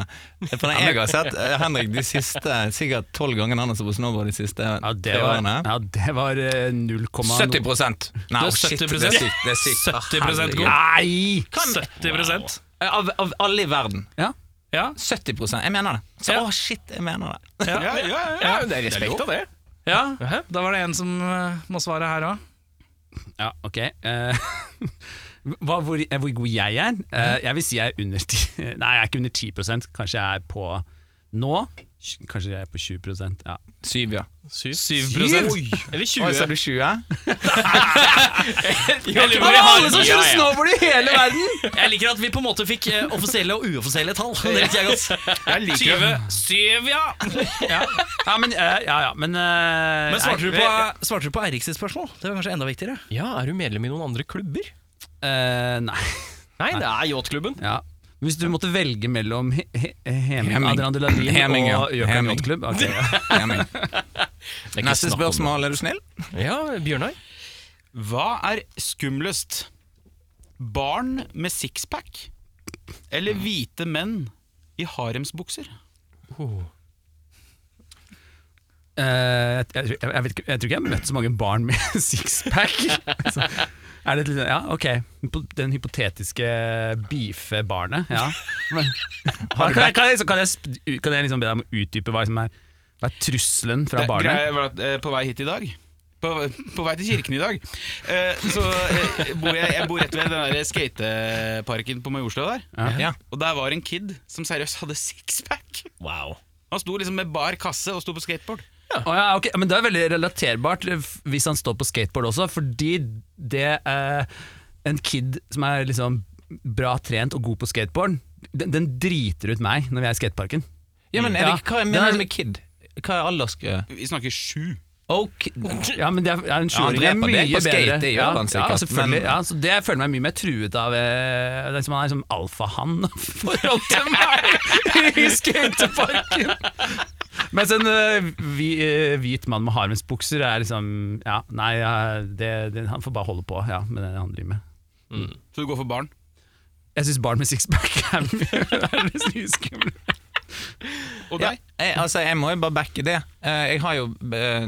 For når jeg har sett eh, Henrik de siste sikkert tolv gangene han har stått på snowboard de siste Ja, det tre var, årene. ja, det var eh, 0, 70 Nei, Du er oh, shit, det 70 er sykt. Det er sykt. 70 god. Nei! 70 Eh, Av, av alle i verden. Ja, 70 Jeg mener det. Så, Ja. Å, shit, jeg mener det. ja, Ja, det er respekt av det. ja. Da var det en som eh, må svare her òg. Ja, ok. eh, hva, hvor, eh, hvor god jeg er? Mhm. Eh, jeg vil si jeg er under 10 Nei, jeg er ikke under 10 Kanskje jeg er på nå. Kanskje jeg er på 20 ja. Syv, ja. 7 Eller Oi, 20. sa du 20? Jeg Det var alle som kjører snowboard i hele verden! liker at vi på en måte fikk eh, offisielle og uoffisielle tall. Det liker jeg godt. 20, 7, ja. Ja, men, eh, ja, ja, men, eh, Men svarte du jeg- på, svarte du på Eirik sitt spørsmål? Det var kanskje enda viktigere. Ja, er du medlem i noen andre klubber? eh, Nei. Nei, det er yachtklubben. Ja. Hvis du måtte velge mellom he he Heming, Heming. Adrian Deladin Heming, ja. og Jøkan Heming. Yachtklubb ok, ja. Jeg mener. Neste spørsmål, er du snill? Ja, Bjørnar. Hva er skumlest? Barn med sixpack eller hvite menn i haremsbukser? Eh, jeg, jeg, jeg, vet ikke, jeg tror ikke jeg har møtt så mange barn med sixpack. Så Er det et lite, ja, ok Hypo- Den hypotetiske beefe-barnet. Ja. Men, kan, jeg, kan, jeg, så kan, jeg, sp- kan jeg liksom be deg om å utdype hva som er, hva er trusselen fra Det barnet? greia var at eh, på vei hit i dag på, på vei til kirken i dag eh, Så eh, bor jeg, jeg bor rett ved den der skateparken på Majorstua der Ja. Og der var en kid som seriøst hadde sixpack Wow. Han sto liksom med bar kasse og sto på skateboard Å ja, ok, Men det er veldig relaterbart eh, f- hvis han står på skateboard også, fordi det eh, En kid som er liksom bra trent og god på skateboard, den, den driter ut meg når vi er i skateparken. Ja, men Ja. Erik, hva Den er- mener liksom du med kid? Hva er aldersgruppe? Vi snakker sju Ok, Ja, men det er, er en sjuåring Ja, er han dreper mye deg på skate, bedre. det gjør ja, han sikkert, ja, selvfølgelig. men- Ja, så det jeg føler meg mye mer truet av. Eh, det er som han er som alfahann i forhold til meg i skateparken. Mens en eh, hvi, eh, hvit mann med harmsbukser er liksom Ja, nei, ja, det, det, han får bare holde på ja, med det han driver med. Så du går for barn Jeg syns barn med sixpack er mye er nesten uskummelt. Og Ja, deg? jeg, altså, jeg må jo bare backe det. Eh, Jeg har jo eh,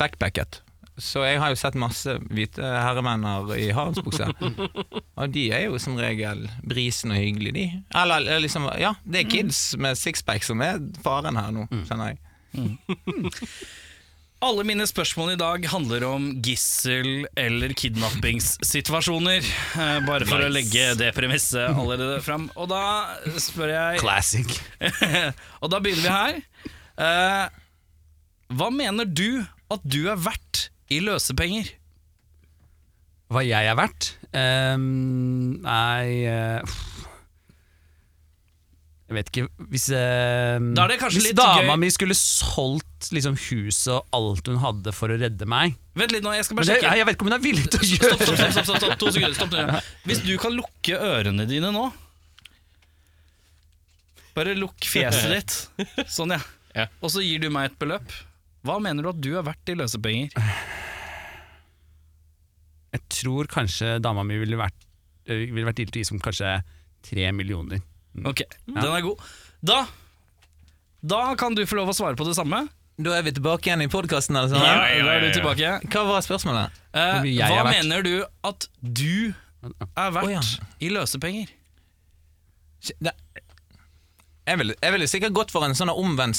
backpacket. Så jeg har jo sett masse hvite herremenner i haremsbukse. Og de er jo som regel brisen og hyggelige, de. Eller, eller liksom, ja, det er kids med sixpack som er faren her nå, skjønner jeg. Alle mine spørsmål i dag handler om gissel- eller kidnappingssituasjoner. eh, Bare for å legge det premisset allerede fram. Og da spør jeg Classic. Og da begynner vi her. Eh, hva mener du at du er verdt i løsepenger? hva jeg er verdt Ehm, Nei eh, pff. Jeg vet ikke Hvis, ehm, Da er det kanskje hvis litt dama gøy- mi skulle solgt liksom, huset og alt hun hadde for å redde meg Vent litt nå, jeg skal Men bare det, sjekke. Jeg vet ikke om hun er villig til å Stopp, gjøre stopp, stopp, stopp, stopp, stopp, to sekunder, stopp nå. Hvis du kan lukke ørene dine nå Bare lukk fjeset ditt Sånn ja. Ja. Og så gir du meg et beløp Hva mener du at du er verdt i løsepenger? Jeg tror kanskje dama mi ville vært, øh, ville vært ille til å gi som kanskje tre millioner Ok, den er god Da Da kan du få lov å svare på det samme Da er vi tilbake igjen i podkasten, altså. Da er du tilbake Hva var spørsmålet? eh, Hvor mye jeg Hva er verdt. mener du at du er verdt Å, ja. i løsepenger? Det- Jeg ville, jeg ville sikkert gått for en sånn omvendt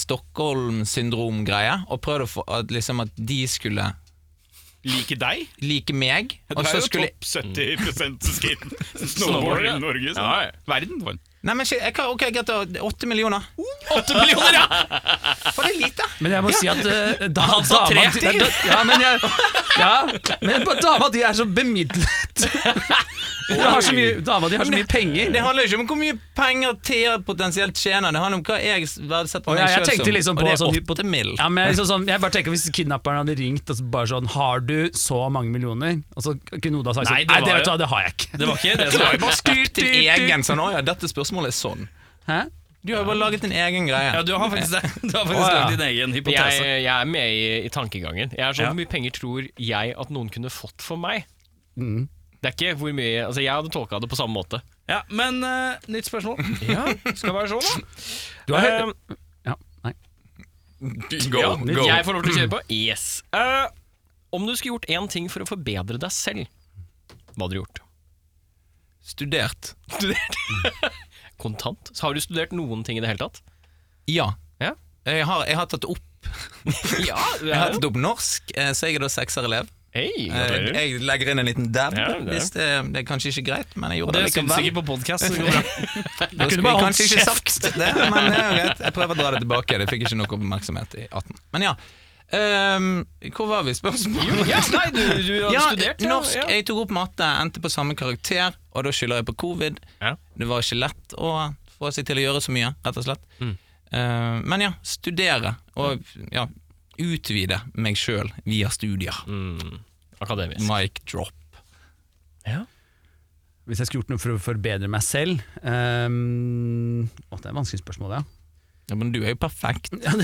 Stockholm-syndrom-greie, og prøvd å få at, liksom, at de skulle Like deg? like meg. Du Og er så jo skulle topp 70% skate snowboard i Norge sånn. Verden for Nei, men shit, jeg kan, ok, greit, da. Åtte millioner. Åtte millioner, ja! Var det lite? Men jeg må si at eh, da, Han sa tre Ja, men jeg ja, Men på dama di er så bemidlet De har så mye, dama di har så mye penger. Det handler ikke om hvor mye penger Thea potensielt tjener, det handler om hva jeg verdsetter Å, ja, meg jeg selv tenkte liksom på og det er sånn hypo- åtte mill. Ja, men jeg, liksom sånn, jeg bare tenker Hvis kidnapperen hadde ringt og så bare sånn Har du så mange millioner? Og så kunne Oda sagt sånn Nei, Nei, det det, var vet du jo- hva, det har jeg ikke. Det var ikke det som var Styrt din egen sånn, å ja, dette spørsmålet er sånn. Hæ? Du har jo bare laget din egen greie. Ja, du har faktisk det. Du har faktisk Å, ja. lagd din egen Jeg, hypotese. jeg er med i, i tankegangen. Jeg er sånn, Ja. Hvor mye penger tror jeg at noen kunne fått for meg? Det er ikke hvor mye Altså, jeg hadde tolka det på samme måte. Ja, men eh, nytt spørsmål. Skal være sånn, Du da. har Eh, Ja, nei. Go, go. Jeg får lov til å kjøre på? Yes. Eh, om du skulle gjort én ting for å forbedre deg selv, hva hadde du gjort? Studert. Studert? Kontant? Så har du studert noen ting i det hele tatt? Ja. Ja. Jeg har, jeg har tatt opp Ja, det Jeg har tatt opp norsk, eh, så jeg er da sekserelev. Hei, Eh, gratulerer. Jeg legger inn en liten dab. Ja, det er. hvis det, det er kanskje ikke greit, men jeg gjorde Det det, liksom syns ikke på podkast. Nei, Da skulle jeg kanskje ikke sagt det, men det er jo greit. Jeg prøver å dra det tilbake. Det fikk ikke nok oppmerksomhet i 18. Men ja. ehm, hvor var vi? Spørsmålet? du, du har Ja, studert norsk. Jeg tok opp matte, endte på samme karakter, og da skylder jeg på covid. Ja. Det var ikke lett å få seg til å gjøre så mye, rett og slett. Eh, men ja, studere og ja, utvide meg sjøl via studier. Akademisk. Mic drop. Hvis jeg skulle gjort noe for å forbedre meg selv ehm, Å, det er et vanskelig spørsmål, ja. Ja, men du er jo perfekt. Du, du mener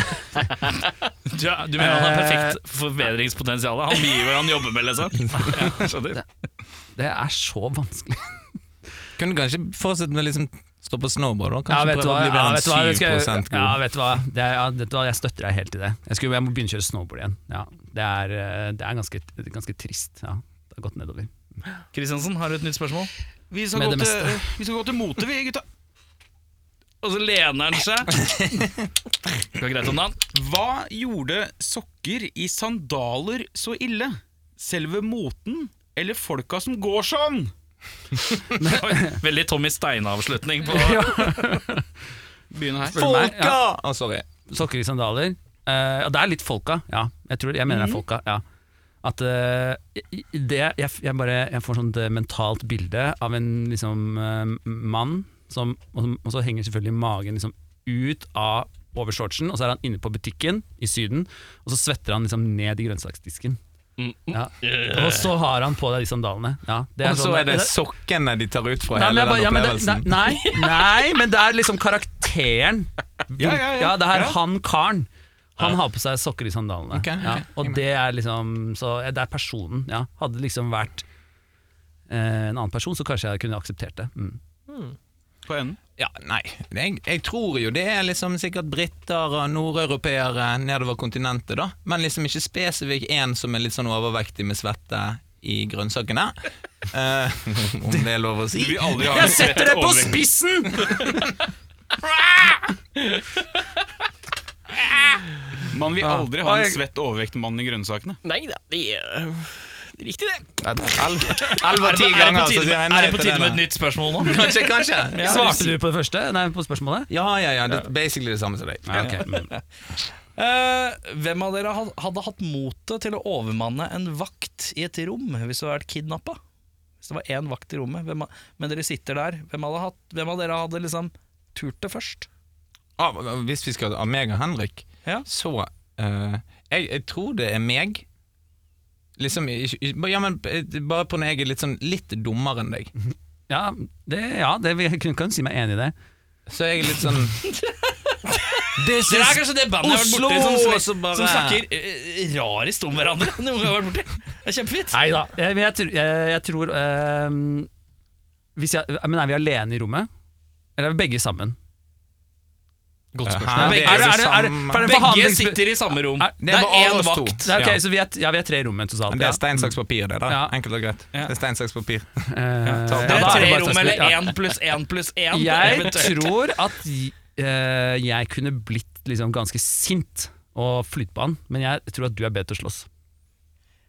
Eh, han har perfekt forbedringspotensial? Han gir hva han jobber med, liksom? Ja, skjønner. Det er så vanskelig. Kunne kanskje fortsette med liksom stå på snowboard, da. Kanskje ja, vet du prøve hva, å bli ja, bare vet du hva, det en skal 7 jeg, god. ja, vet du hva, det er, ja, vet du hva jeg støtter deg helt i det. Jeg, skulle, jeg må begynne å kjøre snowboard igjen. Ja, det er, eh, det er ganske, ganske trist. Ja, det har gått nedover. Kristiansen, har du et nytt spørsmål? Vi skal, Med gå det til, vi skal gå til mote, vi, gutta. Og så lener han seg. Det går greit om dagen. Hva gjorde sokker i sandaler så ille? Selve moten eller folka som går sånn? Veldig Tommy Steine-avslutning på Begynne her. Spør du meg? Folka! Å, sorry. Sokker i sandaler. Eh, og det er litt folka, ja. Jeg, tror, jeg mener det er folka, ja. At eh, i- i det jeg, jeg bare Jeg får sånt eh, mentalt bilde av en liksom eh, mann som og, som- og så henger selvfølgelig magen liksom ut av over shortsen, og så er han inne på butikken i Syden, og så svetter han liksom ned i grønnsaksdisken. Mm. Ja. Og så har han på deg de sandalene. Ja, det Og så sånn- er det sokkene de tar ut fra Nei, men hele jeg den bare- ja, men det- opplevelsen. Nei, nei, men det er liksom karakteren. Ja, ja, ja. det er han karen. Han har på seg sokker i sandalene. Ok, ok. Ja, og det er liksom Så det er personen. Ja. Hadde det liksom vært eh, en annen person, så kanskje jeg kunne akseptert det. Mm. På enden. Ja, nei. Jeg, jeg tror jo det er liksom sikkert briter og nordeuropeere nedover kontinentet, da. Men liksom ikke spesifikt én som er litt sånn overvektig med svette i grønnsakene. Eh, om det er lov å si. Vi aldri har Setter det på spissen! Ah! Man vil aldri ha en svett overvektig mann i grønnsakene. Nei da, det er det er riktig, det. Elleve av Er ti det ganger. på så sier tide, jeg er nei det på til tide det, med et da. nytt spørsmål nå? Kanskje, kanskje. Ja, Svarte du på det første? Nei, på spørsmålet? ja, ja. ja det er basically det samme som deg. Nei, ok. Mm. Eh, hvem av dere had- hadde hatt motet til å overmanne en vakt i et rom hvis du hadde vært kidnappa? Hvis det var én vakt i rommet, hvem av, men dere sitter der, hvem, hadde hatt, hvem av dere hadde liksom turt det først? av, av- hvis vi skal av meg og Henrik, Ja. så eh, jeg, jeg tror det er meg. Liksom, ikke- ikke- ja, men eh, bare på når jeg er litt, sånn, litt dummere enn deg. Ja, det, ja det, jeg kunne kan si meg enig i det. Så jeg er litt sånn This Dere er kanskje det bandet Oslo, jeg har vært borti som, og så bare- som snakker eh, rarest om hverandre. Noen gang jeg har vært borti. Det er kjempefint. Nei da. Jeg, men jeg, tror- jeg, jeg tror ehm, hvis jeg, eh, Men er vi alene i rommet? Eller er vi begge sammen? Godt spørsmål. Hæ? Det Er det- jo er det- er det- samme- for det- Begge forhandlings- sitter i samme rom. Er- Det er bare én oss to. vakt. Det er, ok, så vi er, ja, vi er tre rom men totalt. Men det Ja. er stein, saks, papir, det. da Ja. Enkelt og greit. Ja. Det er stein, saks, papir. Eh, ta- ja, Det da er er tre bare rom saks- eller ja. én pluss én pluss én. Jeg eventuelt. tror at eh, jeg kunne blitt liksom ganske sint og flytt på han, men jeg tror at du er bedre til å slåss.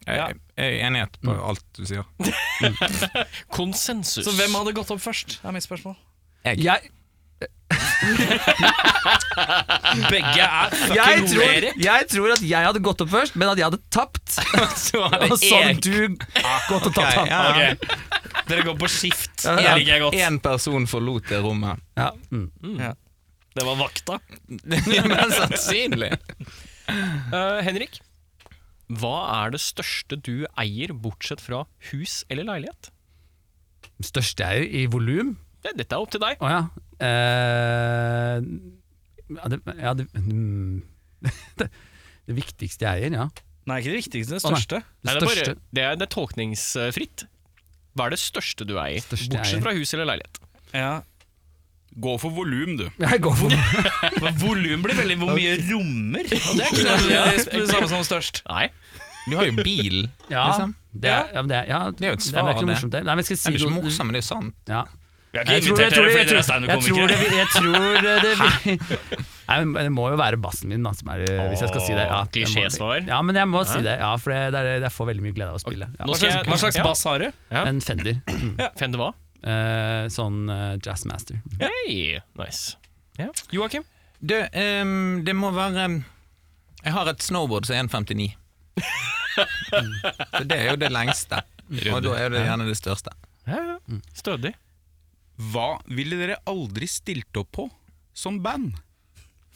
Jeg, Ja. jeg er enighet på alt du sier. Konsensus. Så hvem hadde gått opp først, er mitt spørsmål. Jeg, Begge er jeg, fucking tror, roere. jeg tror at jeg hadde gått opp først, men at jeg hadde tapt. Så Og så hadde du gått og tatt han. ja. Dere går på skift. En- Det liker jeg godt. En person forlot det rommet. Ja. Mm. Det var vakta. Mest sannsynlig. Eh, Henrik, hva er det største du eier, bortsett fra hus eller leilighet? Største er jo i volum. Det, dette er opp til deg. Å ja. Eh, ja, det, ja det, mm. det, det viktigste jeg eier, ja. Nei, ikke det viktigste. Det Å, nei. største. Nei, Det det, er største, bare, det, er, det er tolkningsfritt. Hva er det største du eier, Største jeg bortsett eier. fra hus eller leilighet? Ja. Gå for volum, du. Jeg går for Men volum blir veldig hvor mye rommer. Og det er ikke nødvendigvis det samme som størst. Nei, Du har jo bil. Ja, Liksom. det er, ja, men det er, ja, er jo et svar, det. er ikke noe det. morsomt, det. Nei, men skal jeg Det er si ikke noe- morsomt, men det er jo sant. Ja. Vi har Jeg tror, jeg, tror, jeg, tror, jeg, tror det, standup-komikere. jeg tror det, det Nei, men Det må jo være bassen min, da, som er, hvis jeg skal si det. Ja, Åh, jeg må- klisjésvar. Ja, men jeg må si det, ja, for det, det er, jeg får veldig mye glede av å spille. Ja. nå Hva skal slags, jeg- hva slags Ja. bass har du? ja. En Fender. Mm. Fender hva? Eh, sånn eh, jazzmaster. Hei, nice. Ja. Joakim? Du, ehm, det må være ehm, Jeg har et snowboard som er 1,59. Så det er jo det lengste. Og da er det gjerne det største. Ja, ja. Mm. Stødig. Hva ville dere aldri stilt opp på som band?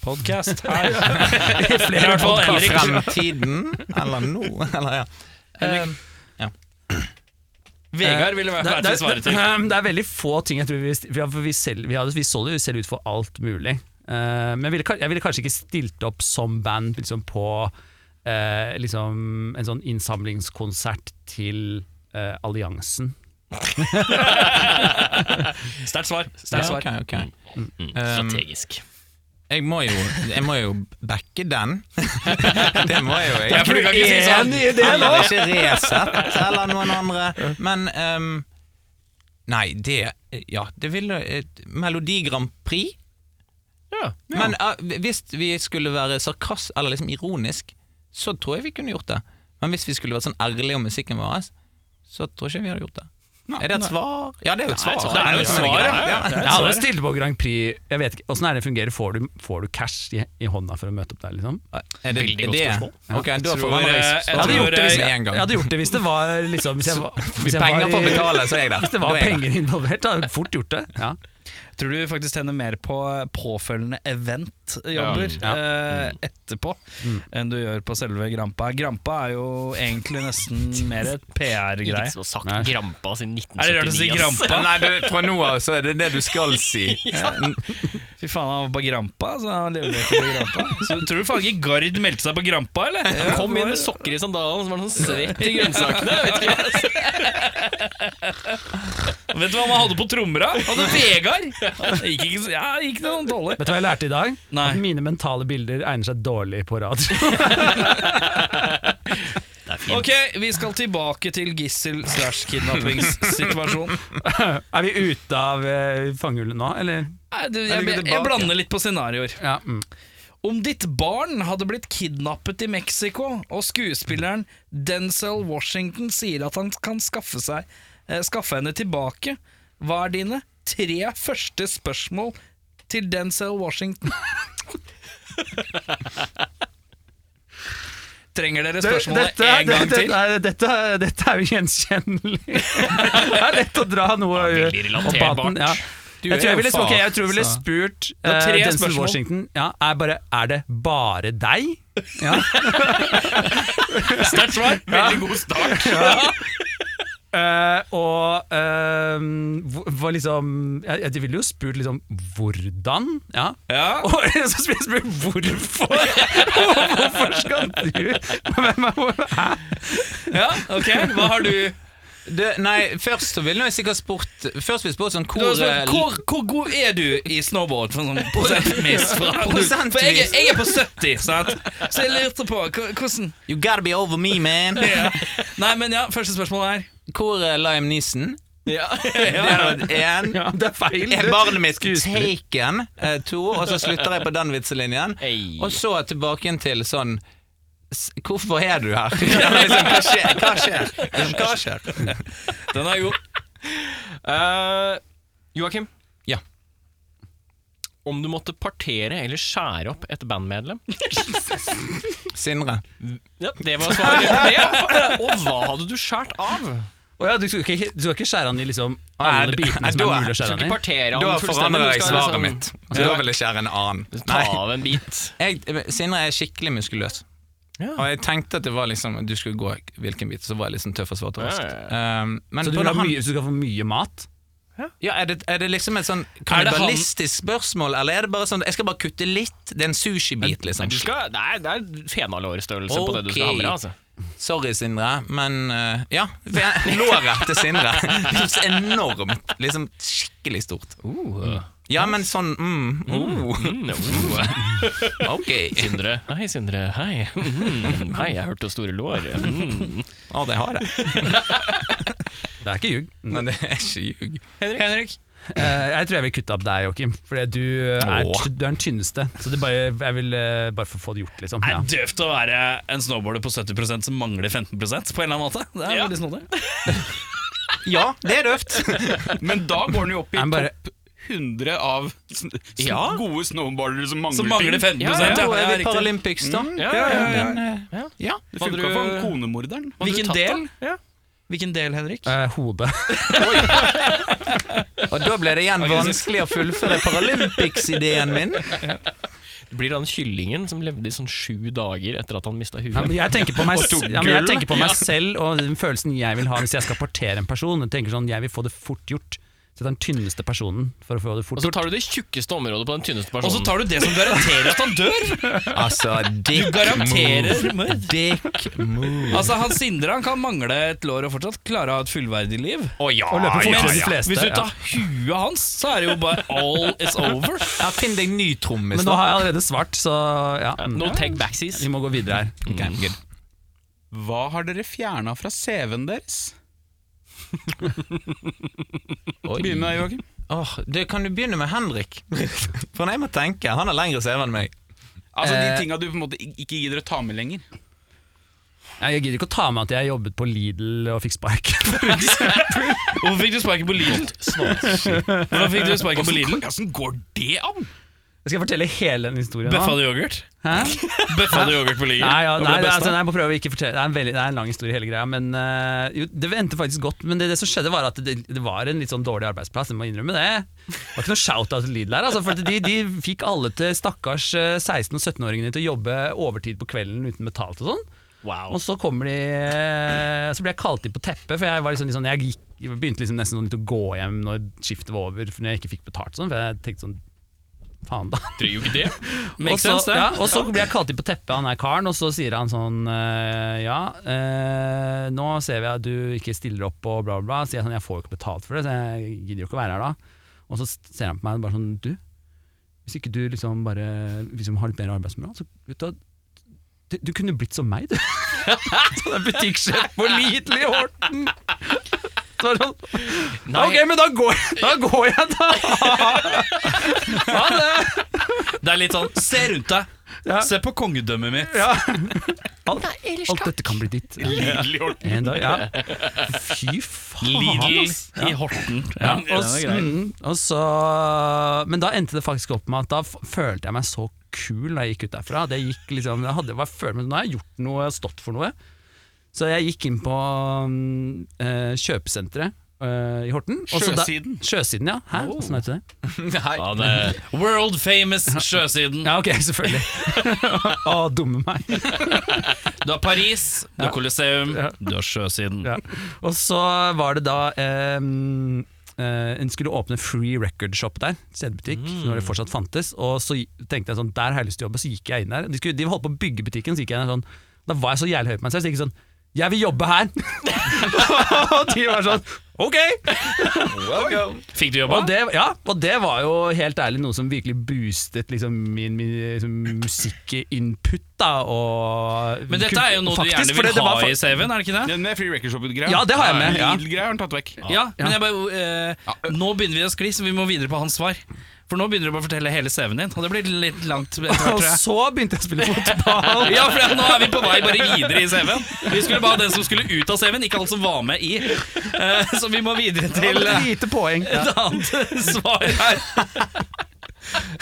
Podcast her. I hvert fall Henrik. Fremtiden, eller nå, eller ja. Ehm, Vegard ville vært Det, verdt det, å svare Eh, det, til. det er veldig få ting jeg tror vi, vi, har- for vi, selv, vi, hadde, vi så det jo selv ut for alt mulig. Eh, men jeg ville, ka- jeg ville kanskje ikke stilt opp som band liksom, på eh, liksom, en sånn innsamlingskonsert til eh, Alliansen. Sterkt svar. ja, Sterkt svar. ok, ok. Ehm, Strategisk. jeg, må jo, jeg må jo backe den. det må jeg jo. Jeg Ja, for du kan ikke si sånn. i det, da! Ikke Resett eller noen andre. Men ehm, Nei, det Ja, det ville et Melodi Grand Prix. Ja. Men eh, hvis vi skulle være sarkast, eller liksom ironisk, så tror jeg vi kunne gjort det. Men hvis vi skulle vært sånn ærlige om musikken vår, så tror jeg ikke vi hadde gjort det. er det et svar? Ja, det er jo et svar. Det er jo et svar, ja. Jeg hadde stilt på Grand Prix. Jeg vet ikke, Åssen er det det fungerer? Får du, får du cash i, i hånda for å møte opp der? liksom? Er det Veldig er godt det? spørsmål. Ok, da tror, forandrer eh, jeg jeg Jeg hadde, tror, gjort det, hvis, spørsmålet med en jeg, gang. hadde gjort det hvis det var liksom, hvis jeg, var- hvis jeg Penger på å var, i- betale, så er jeg der. hvis det Da var er jeg der. penger involvert. Da hadde jeg fort gjort det. Ja. Tror du faktisk tjener mer på påfølgende event-jobber Ja. Mm. eh, etterpå enn du gjør på selve Grampa? Grampa er jo egentlig nesten mer et PR-greie. Ingen som har sagt Nei. Grampa siden Er det rart å si 1979. ass. Grampa? Nei, du, fra nå av så er det det du skal si. Fy faen, han var på Grampa. Så han lever ikke på Grampa Så Tror du faen ikke Gard meldte seg på Grampa, eller? Han kom inn med sokker i sandalen som var sånn svett i grønnsakene. Jeg vet ikke. Vet du hva man hadde på trommer, da? Hadde Vegard! Det Gikk ikke, så- ja, det gikk noe dårlig. Vet du hva jeg lærte i dag? Nei. At mine mentale bilder egner seg dårlig på radio. Ok, vi skal tilbake til gissel slash kidnappingssituasjon. Er vi ute av eh, fangehullet nå, eller? Nei, du, Jeg, jeg, jeg blander litt på scenarioer. Ja, mm. Om ditt barn hadde blitt kidnappet i Mexico, og skuespilleren Denzel Washington sier at han kan skaffe, seg, eh, skaffe henne tilbake, hva er dine tre første spørsmål til Denzel Washington? Trenger dere spørsmålet er- en gang dette, til? nei, dette, er- dette er jo gjenkjennelig. det er lett å dra noe Ja, veldig opp relaterbart. Ja. Du Jeg er tror jeg jo ville, far, ok, jeg tror jeg ville altså. så- spurt Det er eh, tre Denzel spørsmål. Washington ja, er, bare, er det bare deg? Ja. Sterkt svar. Veldig god start. Ja. Eh, og eh, hvor, hvor liksom jeg, jeg ville jo spurt liksom hvordan, ja. Og så spør jeg spør, hvorfor? Hvorfor skal du Hvem er hvor? Hæ? ja, ok. Hva har du? Du, nei, først så ville jeg sikkert spurt Først ville jeg spurt sånn Du har hvor, eh, spurt, hvor, hvor god er du i snowboard? For, sånn prosentvis, fra, Prosentvis. for jeg, er- jeg er på 70, sant? så jeg lurte på hva- hvordan You gotta be over me, man. Nei, men ja, første spørsmål er Hvor er Liam Neeson? Det ja. er det en. Ja, det er feil. Er barnet mitt Skuespiller. taken? Eh, to. Og så slutter jeg på den vitselinjen. Ei. Og så tilbake igjen til sånn s- Hvorfor er du her? liksom, hva skjer? Hva skjer? Liksom, Hva skjer? Den er god. Eh, Joakim. Ja. Om du måtte partere eller skjære opp et bandmedlem? Sindre. Ja, det var svaret på det. Og hva hadde du skåret av? Å ja, du skal ikke, du skal ikke skjære han i liksom alle bitene som er Du mulig å skal skjære han ikke i? partere Da han forandrer du jeg skal svaret liksom mitt. Altså, Da vil jeg skjære en annen. Ta av en bit. Jeg, Sindre er skikkelig muskuløs. Ja. Og jeg tenkte at det var liksom du skulle gå hvilken bit, så var jeg liksom tøff og svart og Ja, rask. ja, Um, men Så både du vil ha han- mye, så du skal få mye mat? ja, er, det, er det liksom et sånn han- kannibalistisk spørsmål, eller er det bare sånn Jeg skal bare kutte litt, det er en sushibit, liksom. Du skal, det, er, det er fenalårstørrelse på det du skal ha med deg. Altså. Sorry, Sindre, men eh, Ja. for jeg- Låret til Sindre. Det er så enormt. Liksom skikkelig stort. Uh. Ja, men sånn mm, oh, Uh. Mm, oh. Ok. Sindre. Hei, Sindre. Hei. Mm, hei, jeg hørte store lår. Mm. Å, det har jeg. Det er ikke ljug. Men det er ikke ljug. Henrik. Eh, jeg tror jeg vil kutte opp deg, Joakim. Fordi du eh, er, Åh. ty- du er den tynneste. Så det bare, jeg vil eh, bare få få det gjort, liksom. Det Ja. er døvt å være en snowboarder på 70 som mangler 15 på en eller annen måte. Det er veldig snodig. Ja, det er døvt. Men da går den jo opp i Jeg bare- topp 100 av sn sn- Ja. gode snowboardere som mangler, Så mangler 15 ting. ja, Ja, ja, Mm, ja, Nå er vi riktig. Paralympics, da. Ja, ja, ja, ja. Hadde Det funka du- for han Hadde konemorderen. du Hvilken tatt del? da? Ja. Hvilken del, Henrik? Eh, hodet. Og da ble det igjen vanskelig å fullføre Paralympics-ideen min. Det blir han kyllingen som levde i sånn sju dager etter at han mista huet. Ja, men jeg tenker på meg, ja, men jeg tenker på meg selv og den følelsen jeg vil ha hvis jeg skal partere en person. Jeg tenker sånn, jeg vil få det fort gjort. Så jeg tar den tynneste personen for å få det fort Og så gjort. tar du det tjukkeste området på den tynneste Og så personen. tar du det som garanterer at han dør! Altså, dick Du garanterer move. Dick move. Altså, han Sindre han kan mangle et lår og fortsatt klare å ha et fullverdig liv. Å ja, Og løpe fortere Men enn de fleste. hvis du ja. tar huet hans, så er det jo bare all is over. ja, Finn deg ny trommis, Men nå har jeg allerede svart, så ja. Mm. No take backsies. Vi må gå videre her. Ok, good. Hva har dere fjerna fra CV-en deres? Oi. Begynn med deg, Joakim. Åh, det kan du begynne med Henrik. For jeg må tenke, han har lengre CV enn meg. Altså Eh. De tinga du på en måte ik- ikke gidder å ta med lenger. Jeg gidder ikke å ta med at jeg jobbet på Lidl og fikk spark. Hvorfor fikk du sparken på Lidl? Hvordan fikk du sparken på Lidl? Hvordan går det an?! Jeg skal fortelle hele den historien Bøffa nå. du yoghurt? Hæ? Bøffa du yoghurt på Lidl? Nei, ja, Og ble nei, best det, altså, sånn- av? nei, jeg må prøve å ikke fortelle Det er en, veldig, det er en lang historie, hele greia. Men eh, jo, det endte faktisk godt. Men det, det som skjedde, var at det, det var en litt sånn dårlig arbeidsplass. Jeg må innrømme det. Det var ikke noe shout-out til Lidl her. Altså, for at de, de fikk alle til stakkars eh, 16- og 17-åringene til å jobbe overtid på kvelden uten betalt og sånn. Og så kommer de eh, Så ble jeg kalt inn på teppet, for jeg var liksom, litt sånn- jeg gikk, jeg begynte liksom nesten sånn litt å gå hjem når skiftet var over, for når jeg ikke fikk betalt sånn. For jeg tenkte sånn Faen, da. Og så, ja, og så blir jeg kalt inn på teppet, han er karen, og så sier han sånn eh, Ja, eh, nå ser vi at du ikke stiller opp og bla, bla, bla. Så sier jeg sånn, jeg får jo ikke betalt for det, så jeg gidder jo ikke å være her da. Og så ser han på meg og bare sånn Du, hvis ikke du liksom bare liksom har litt bedre arbeidsmoral, så vet du hva du, du kunne blitt som meg, du. Sånn er butikksjef på Lidl i Horten. Så var det sånn, ok, men da går, jeg- da går jeg, da. Ha det. Det er litt sånn Se rundt deg! Ja. Se på kongedømmet mitt! Alt, alt dette kan bli ditt. Ja. En dag, ja. Fy faen, Lidl ass. i Horten. Ja, og, s- mm, og så, men da endte det faktisk opp med at da f- følte jeg meg så kul da jeg gikk ut derfra. Det gikk liksom, jeg hadde, jeg følte, meg- nå har jeg gjort noe, jeg har stått for noe. Så jeg gikk inn på mm, eh, kjøpesenteret eh, i Horten. og så da- Sjøsiden. Sjøsiden, ja. Hæ? Hvordan heter det? Ja, det World famous sjøsiden. Ja, ok, selvfølgelig. Å, dumme meg. Du har Paris, du har Colosseum, Ja. du har sjøsiden. Ja. Og så var det da ehm, eh, En skulle åpne Free Record Shop der, CD-butikk, Mm. når det fortsatt fantes. Og så gi- tenkte jeg sånn, der har jeg lyst til å jobbe, så gikk jeg inn der. De, skulle, de holdt på å bygge butikken, så gikk jeg inn der sånn. Da var jeg så jævlig høy på meg selv, så jeg gikk sånn Jeg vil jobbe her! og de var sånn Ok! Fikk du jobba? Og det, ja, og det var jo helt ærlig noe som virkelig boostet liksom, min, min liksom, musikkinput, da. Og, Men dette er jo noe Faktisk, du for det- gjerne det vil var ha fa- i CV-en, er det ikke det? Den med Free Record Shop-greia Ja, det har jeg med, ja. Lidl-greia har han tatt vekk. Ja, men jeg bare, eh, nå begynner vi å skli, så vi må videre på hans svar. For nå begynner du bare å fortelle hele CV-en din, og det blir litt langt. etter hvert, Og tror jeg. så begynte jeg å spille fotball! Ja, for nå er vi på vei bare videre i CV-en. Vi skulle bare ha den som skulle ut av CV-en, ikke alt som var med i. Eh, så vi må videre til eh, lite poeng. et annet svar her.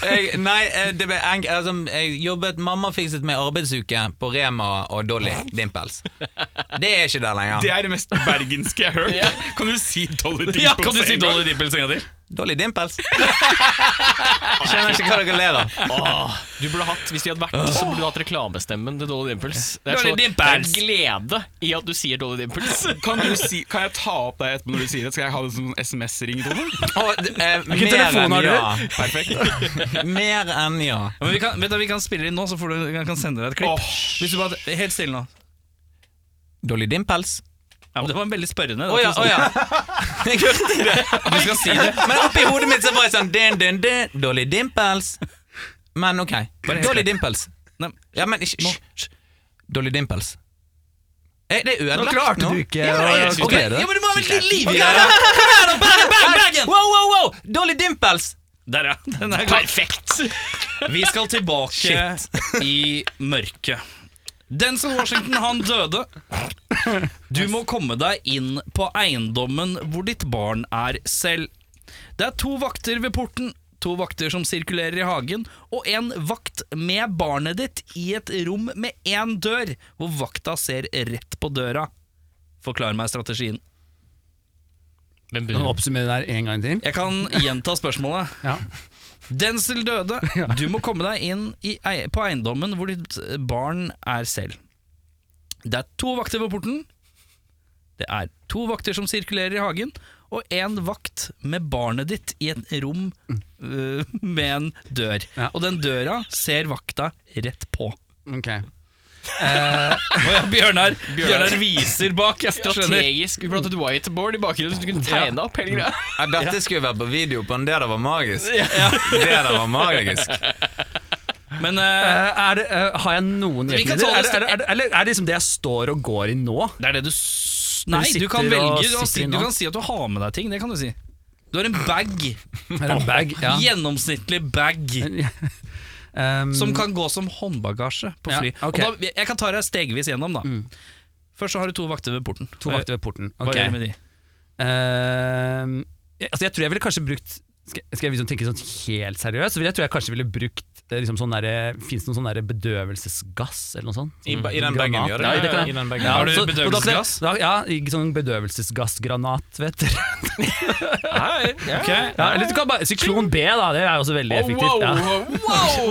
Jeg, nei, eh, det ble enk, altså, jeg jobbet Mamma fikset meg arbeidsuke på Rema og Dolly Dimples. Det er ikke der lenger. Det er det mest bergenske jeg har hørt. Kan du si Dolly Dimples? Ja, kan du si en gang? Dolly Dimples en gang til? Dolly Dimples. Jeg skjønner ikke hva dere ler av. Du burde hatt, Hvis de hadde vært, så burde du hatt reklamestemmen til Dolly Dimples. Det er, Dolly så, Dimples! det er glede i at du sier Dolly Dimples. Kan, du si, kan jeg ta opp deg etterpå når du sier det? Skal jeg ha det som SMS-ringtone? Og, eh, Hvilken mer telefon enn har du? ja. Perfekt. Mer enn ja. Ja, Men vi kan, vet du, hva, vi kan spille inn nå, så får du, jeg kan sende deg et klipp. Hvis du bare, helt stille nå. Dolly Dimples. Ja, men det var veldig spørrende. Å ja, å ja. Jeg hørte det. Du skal si det. Men oppi hodet mitt så var jeg sånn din, din, din, Dolly Dimples. Men ok. Dolly Dimples. Nei, Ja, men ikke Nå. hysj. Dolly Dimples. Er det ødelagt nå? klarte du ikke ja, å jeg, ok. artikulere det. Ja, men det må ha vært litt liv i Ok, det! her da. Wow, wow, wow! Dolly Dimples! Der, ja. Den er god. Perfekt! Vi skal tilbake i mørket. Denzel Washington, han døde. Du må komme deg inn på eiendommen hvor ditt barn er selv. Det er to vakter ved porten, to vakter som sirkulerer i hagen, og en vakt med barnet ditt i et rom med én dør, hvor vakta ser rett på døra. Forklar meg strategien. Hvem Kan du begynner? oppsummere det her en gang til? Jeg kan gjenta spørsmålet. Ja. Denzel døde. Du må komme deg inn i, ei- på eiendommen hvor ditt eh, barn er selv. Det er to vakter ved porten. Det er to vakter som sirkulerer i hagen, og én vakt med barnet ditt i et rom øh, med en dør. Ja. Og den døra ser vakta rett på. Ok. Å ja, Bjørnar, Bjørnar viser bak. Jeg skjønner. Strategisk. Vi burde hatt et whiteboard i bakgrunnen, så du kunne tegne opp hele greia. Ja, dette skulle være på video på en Det der var magisk. Det der var magisk. Men øh, Eh, er det, eh, har jeg noen Vi kan hjelpemidler? ta det Er, det- er, det- er, det- eller er det liksom det jeg står og går i nå? det er det du s- Når Nei, du du kan sitter og velge. Du, kan si, sitter i du nå. kan si at du har med deg ting. Det kan du si. Du har en bag. Er det en bag? Ja. Gjennomsnittlig bag. Um, Som kan gå som håndbagasje på Ja, fly. ok. Mm. Og da, jeg kan ta deg stegvis gjennom, da. Først så har du to vakter ved porten. Eh, To vakter ved porten. Hva Ok. gjør du med de? Ehm, jeg- altså jeg tror jeg ville kanskje brukt Skal, skal jeg liksom tenke sånn helt seriøst, så vil jeg tror jeg kanskje ville brukt eh, liksom sånn derre- Finnes det noen sånn derre bedøvelsesgass eller noe sånt? I, i den bagen gjør det. Nei, det kan jeg. I den bagen. Ja, Har du så- og da kan jeg- bedøvelsesgass? Da, ja, i sånn bedøvelsesgassgranat, vet dere. Ok. Ja, eller du kan bare, Syklon B, da. Det er jo også Oh, veldig effektivt. Ja.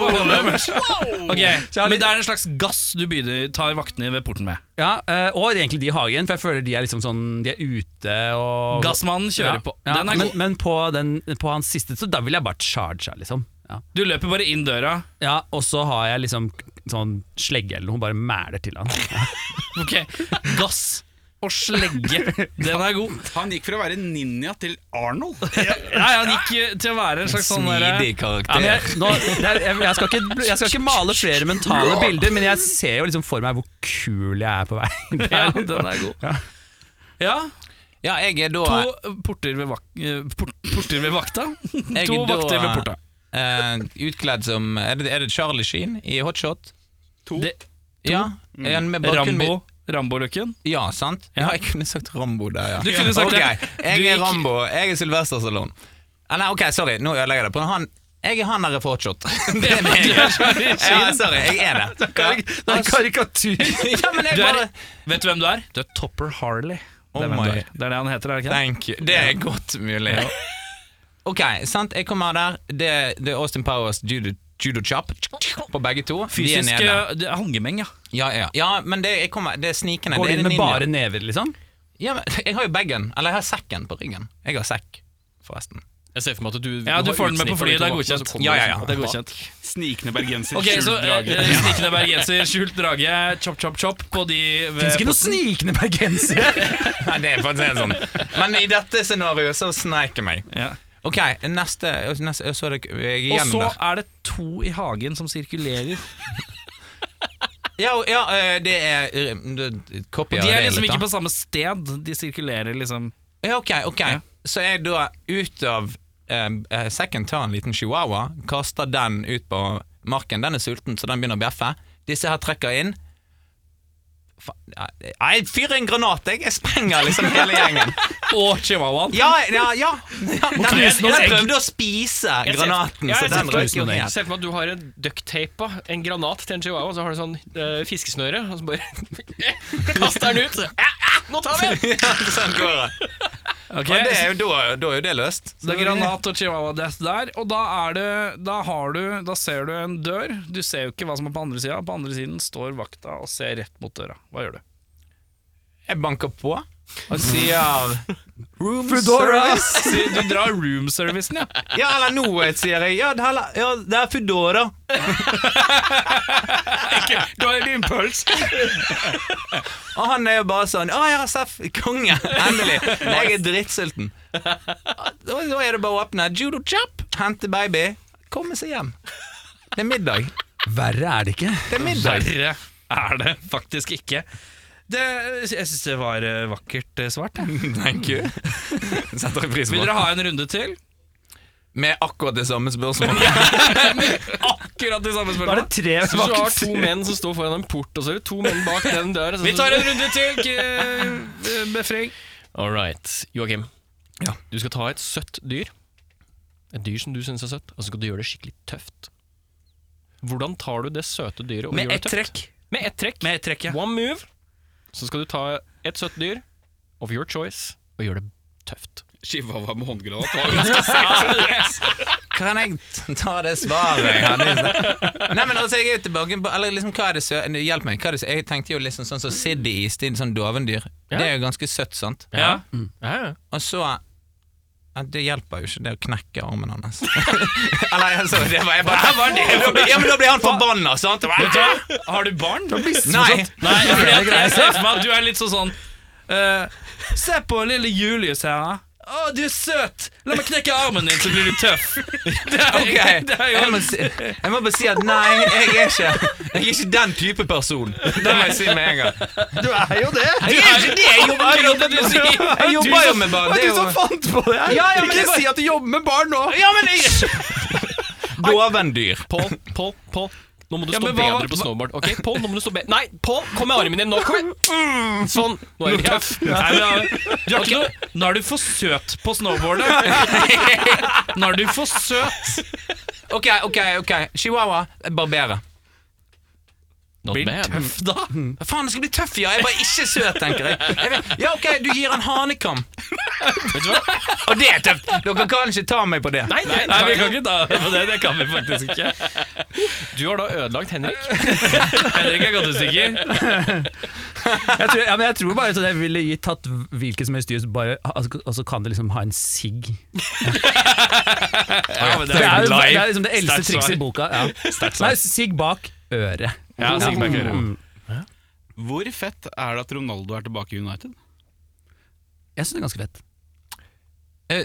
Ok, Men det er en slags gass du begynner, tar vaktene ved porten med. Ja, eh, og egentlig de i hagen, for jeg føler de er liksom sånn De er ute og Gassmannen kjører ja, på. Ja, Den er men god. men på, den, på hans siste, så da ville jeg bare charga, liksom. Ja. Du løper bare inn døra. Ja, og så har jeg liksom sånn slegge eller noe, bare mæler til han. Ok, Gass og slegge. Den er god. Han gikk fra å være ninja til Arnold. Nei, han gikk eh, til å være en slags sånn derre Smidig Ja, men karakter. jeg, nå, det er, jeg, jeg, skal ikke, jeg skal ikke male flere mentale bilder, men jeg ser jo liksom for meg hvor kul jeg er på vei. Ja, den er god. Ja. Ja, Ja, jeg er da to porter ved, vak eh, port porter ved vakta. jeg to er da, vakter ved porta. eh, utkledd som Er det, er det Charlie Sheen i Hot Shot? To. Det- Ja. En med bakgrunn- Rambo. Rambo-looken. Ja, sant? Ja, jeg kunne sagt Rambo der, ja. Du kunne sagt Ok, det. Du Jeg gikk- er Rambo. Jeg er Sylvester Stallone. Ah, nei, ok, sorry, nå ødelegger jeg det. På han, jeg er han der i Fortshot. Det er meg. Ja, sorry, jeg er det. Ja. Det er karikatur. Ja, men jeg Du er- bare Vet du hvem du er? Du er Topper Harley. Det er, Oh hvem du my. er. det er det han heter, er det ikke det? Thank you. Det er godt mulig. Ok, sant, jeg kommer der. Det, det er Austin Powers judo, judo chop på begge to. De er Fysisk nede. eh, det er hangemeng, ja. Ja, ja. ja men det, jeg kommer, det er snikende. Går det er inn en med ninja. bare never, liksom? ja, men, Jeg har jo bagen, eller jeg har sekken på ryggen. Jeg har sekk, forresten. Jeg ser for meg at du Ja, du har får den utsnitt med på av flyet, det er tomaten, så godkjent. kommer Ja, det ja, ja, liksom- det er godkjent. Snikende bergenser, Ok, så skjult drage. eh, Snikende bergenser, skjult drage, chop, chop, chop på de ved Fins ikke noe porten. snikende bergensere! Nei, det er faktisk helt sånn. Men i dette scenarioet så sneik jeg meg. Ja. Ok, neste, neste Så er det jeg er Og igjennom så der. er det to i hagen som sirkulerer. Ja, og- ja, eh, det er eh, Copy De av er det liksom litt, da. ikke på samme sted, de sirkulerer liksom Ja, ok, ok Så jeg da ut av eh, eh, Sekken tar en liten chihuahua Kaster den ut på marken Den er sulten, så den begynner å bjeffe Disse her trekker inn Fa- Nei, fyr en granat, jeg. Jeg sprenger liksom hele gjengen. Og chihuahuaen. Ja, ja, ja. ja den, jeg, knuse noen egg. prøvde å spise Jeg ser- granaten, Ja, så jeg ser den for meg- røk jo jeg ned. ser for meg at du har en ducktapa, en granat til en chihuahua, og så har du sånn eh, fiskesnøre, og så bare kaster den ut. Eh, eh, nå tar vi den! Ja, sånn går det. Ok, Men det er jo, da, da er jo det løst. Så det er granat og chihuahua death der, og da, er det, da, har du, da ser du en dør. Du ser jo ikke hva som er på andre sida. På andre siden står vakta og ser rett mot døra. Hva gjør du? Jeg banker på og sier Room service. Sier- Du drar roomservicen, ja. Ja, eller noe, sier jeg. Ja, det er, ja, det er Foodora. Du har en impuls. Og han er jo bare sånn Å ja, Seff, konge. Endelig. Jeg er drittsulten. Da da er det bare å åpne judo chop, hente baby, komme seg hjem. Det er middag. Verre er det ikke. Det er middag. Verre er det faktisk ikke. Det, jeg syns det var eh, vakkert eh, svart. jeg. Thank you. Setter jeg pris Vil dere ha en runde til? Med akkurat det samme spørsmålet. Akkurat de samme spørsmålene. tre Så du har to menn som står foran en port, og så er det to menn bak den døra. Vi tar en runde til, k- eh, Befring. All right, Joakim. Du skal ta et søtt dyr. Et dyr som du syns er søtt, og så skal du gjøre det skikkelig tøft. Hvordan tar du det søte dyret og Med gjør ett det tøft? trekk. Med ett trekk. Med ett trekk, ja. One move. Så skal du ta et søtt dyr of your choice og gjøre det tøft. Chihuahua med håndgranat. Kan jeg t- ta det svaret jeg hadde? i sted? Nei, men altså, jeg er jo tilbake på Eller liksom, hva er det sø... Hjelp meg. Hva er det sø... Jeg tenkte jo liksom sånn som Siddy i stil sånn dovendyr. Det er jo ganske søtt, sant? Ja. Ja, ja. Og så ja, Det hjelper jo ikke det å knekke armen hans. Eller altså, det var jeg bare Da blir- Ja, men da blir han forbanna, sant? Har du barn? Nei. Nei, fordi at jeg ser for meg at du er litt sånn sånn eh, Se på lille Julius her. da. Å, du er søt! La meg knekke armen din, så blir du tøff. Det er, Ok, det er jo jeg må, si, jeg må bare si at nei, jeg er ikke Jeg er ikke den type person. Det må jeg si med en gang. Du er jo det! Jeg er ikke det! Jeg jobber, jeg jobber, Du sier- jeg jobber jo med barn. Det er jo fant på det her! Ja, ja, men det var- si at du jobber med barn nå! Ja, men jeg... Dovendyr. Pål, Pål, Pål. Nå må du Ja, stå men hva- bedre på snowboard. Ok, Pål, nå må du stå bedre Nei, Pål, kom med armen din nå! Kom Mm. igjen! Sånn. Nå er du tøff. Nei, men, du er ikke noe, nå er du for søt på snowboardet. Nå er du for søt. Ok, ok, ok. Chihuahua. Barberer. Not bad. Tøff, da. Faen, det skal bli tøff, ja. Jeg var ikke søt, tenker jeg. jeg vet, ja, ok, du gir en hanekam. Og det er tøft. Dere kan ikke ta meg på det. Nei, nei, Nei, vi kan ikke ta på det. Det kan vi faktisk ikke. Du har da ødelagt Henrik. Henrik er gått ut stykker. Jeg tror, ja, men jeg tror bare at jeg ville gitt tatt hvilket som helst dyr, så bare- altså, og så kan det liksom ha en sigg. det Det er, jo- live. det er liksom det eldste Sterkt svar. trikset i boka. Ja. Nei, sigg bak øret. Ja, Sigg bak øret. Mm. Hvor fett er det at Ronaldo er tilbake i United? Jeg syns det er ganske fett. Eh,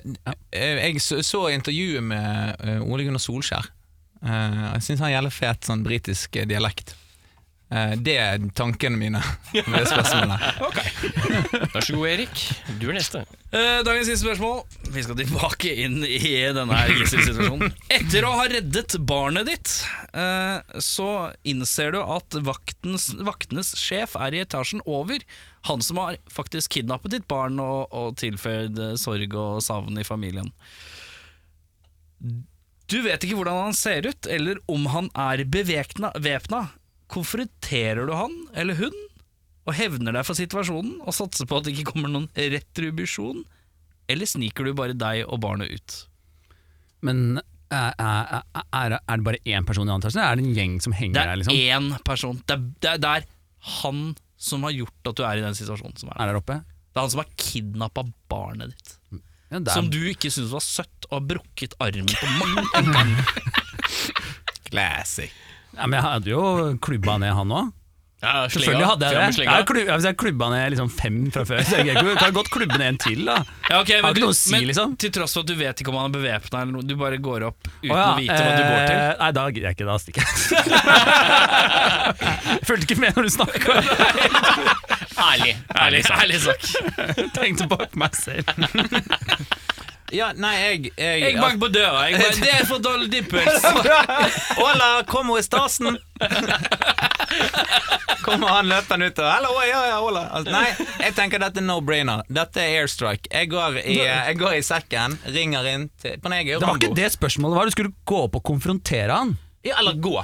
eh, Jeg så, så intervjuet med eh, Ole Gunnar Solskjær. Eh, Jeg syns han gjelder fet sånn britisk eh, dialekt. Eh, Det er tankene mine med det spørsmålet. Vær så god, Erik. Du er neste. Eh, dagens siste spørsmål. Vi skal tilbake inn i denne her gisselsituasjonen. Etter å ha reddet barnet ditt, eh, så innser du at vaktens, vaktenes sjef er i etasjen over. Han som har faktisk kidnappet ditt barn og, og tilføyd eh, sorg og savn i familien. Du vet ikke hvordan han ser ut, eller om han er bevekna- væpna. Konfronterer du han eller hun? og hevner deg for situasjonen og satser på at det ikke kommer noen retribusjon? Eller sniker du bare deg og barnet ut? Men er, er, er, er det bare én person i antasjen, eller er det en gjeng som henger Det der? er liksom? én person. Det er, det, er, det er han som har gjort at du er i den situasjonen som er der. Er der oppe? Det er han som har kidnappa barnet ditt. Ja, det er- Som du ikke syntes var søtt, og har brukket armen på mange ganger. Classic. ja, men jeg hadde jo klubba ned han òg. Ja, Selvfølgelig hadde jeg det. Jeg Ja, har klub, ja, hvis jeg klubba ned liksom fem fra før, så jeg kan jeg kan godt klubbe ned en til. da Ja, ok, Har ikke du- noe å si, liksom. Til tross for at du vet ikke om han er bevæpna eller noe, du bare går opp uten Å ja, å vite hva du går til. eh, Nei, da gidder jeg ikke. Da stikker jeg. jeg fulgte ikke med når du snakka. Ærlig, ærlig, ærlig sak. Tenkte bak meg selv. Ja, nei, jeg Jeg, Jeg banker på døra. Jeg bare, det er for dårlig dippels! Hola, como estasen? Kommer han løpende ut og Hallo, ja, ja, hola. Altså, nei, jeg tenker dette er no-brainer. Dette er airstrike. Jeg går i, jeg går i sekken, ringer inn til Men jeg er jo Det var Rambo. ikke det spørsmålet var. Du skulle gå opp og konfrontere han. Ja, eller gå.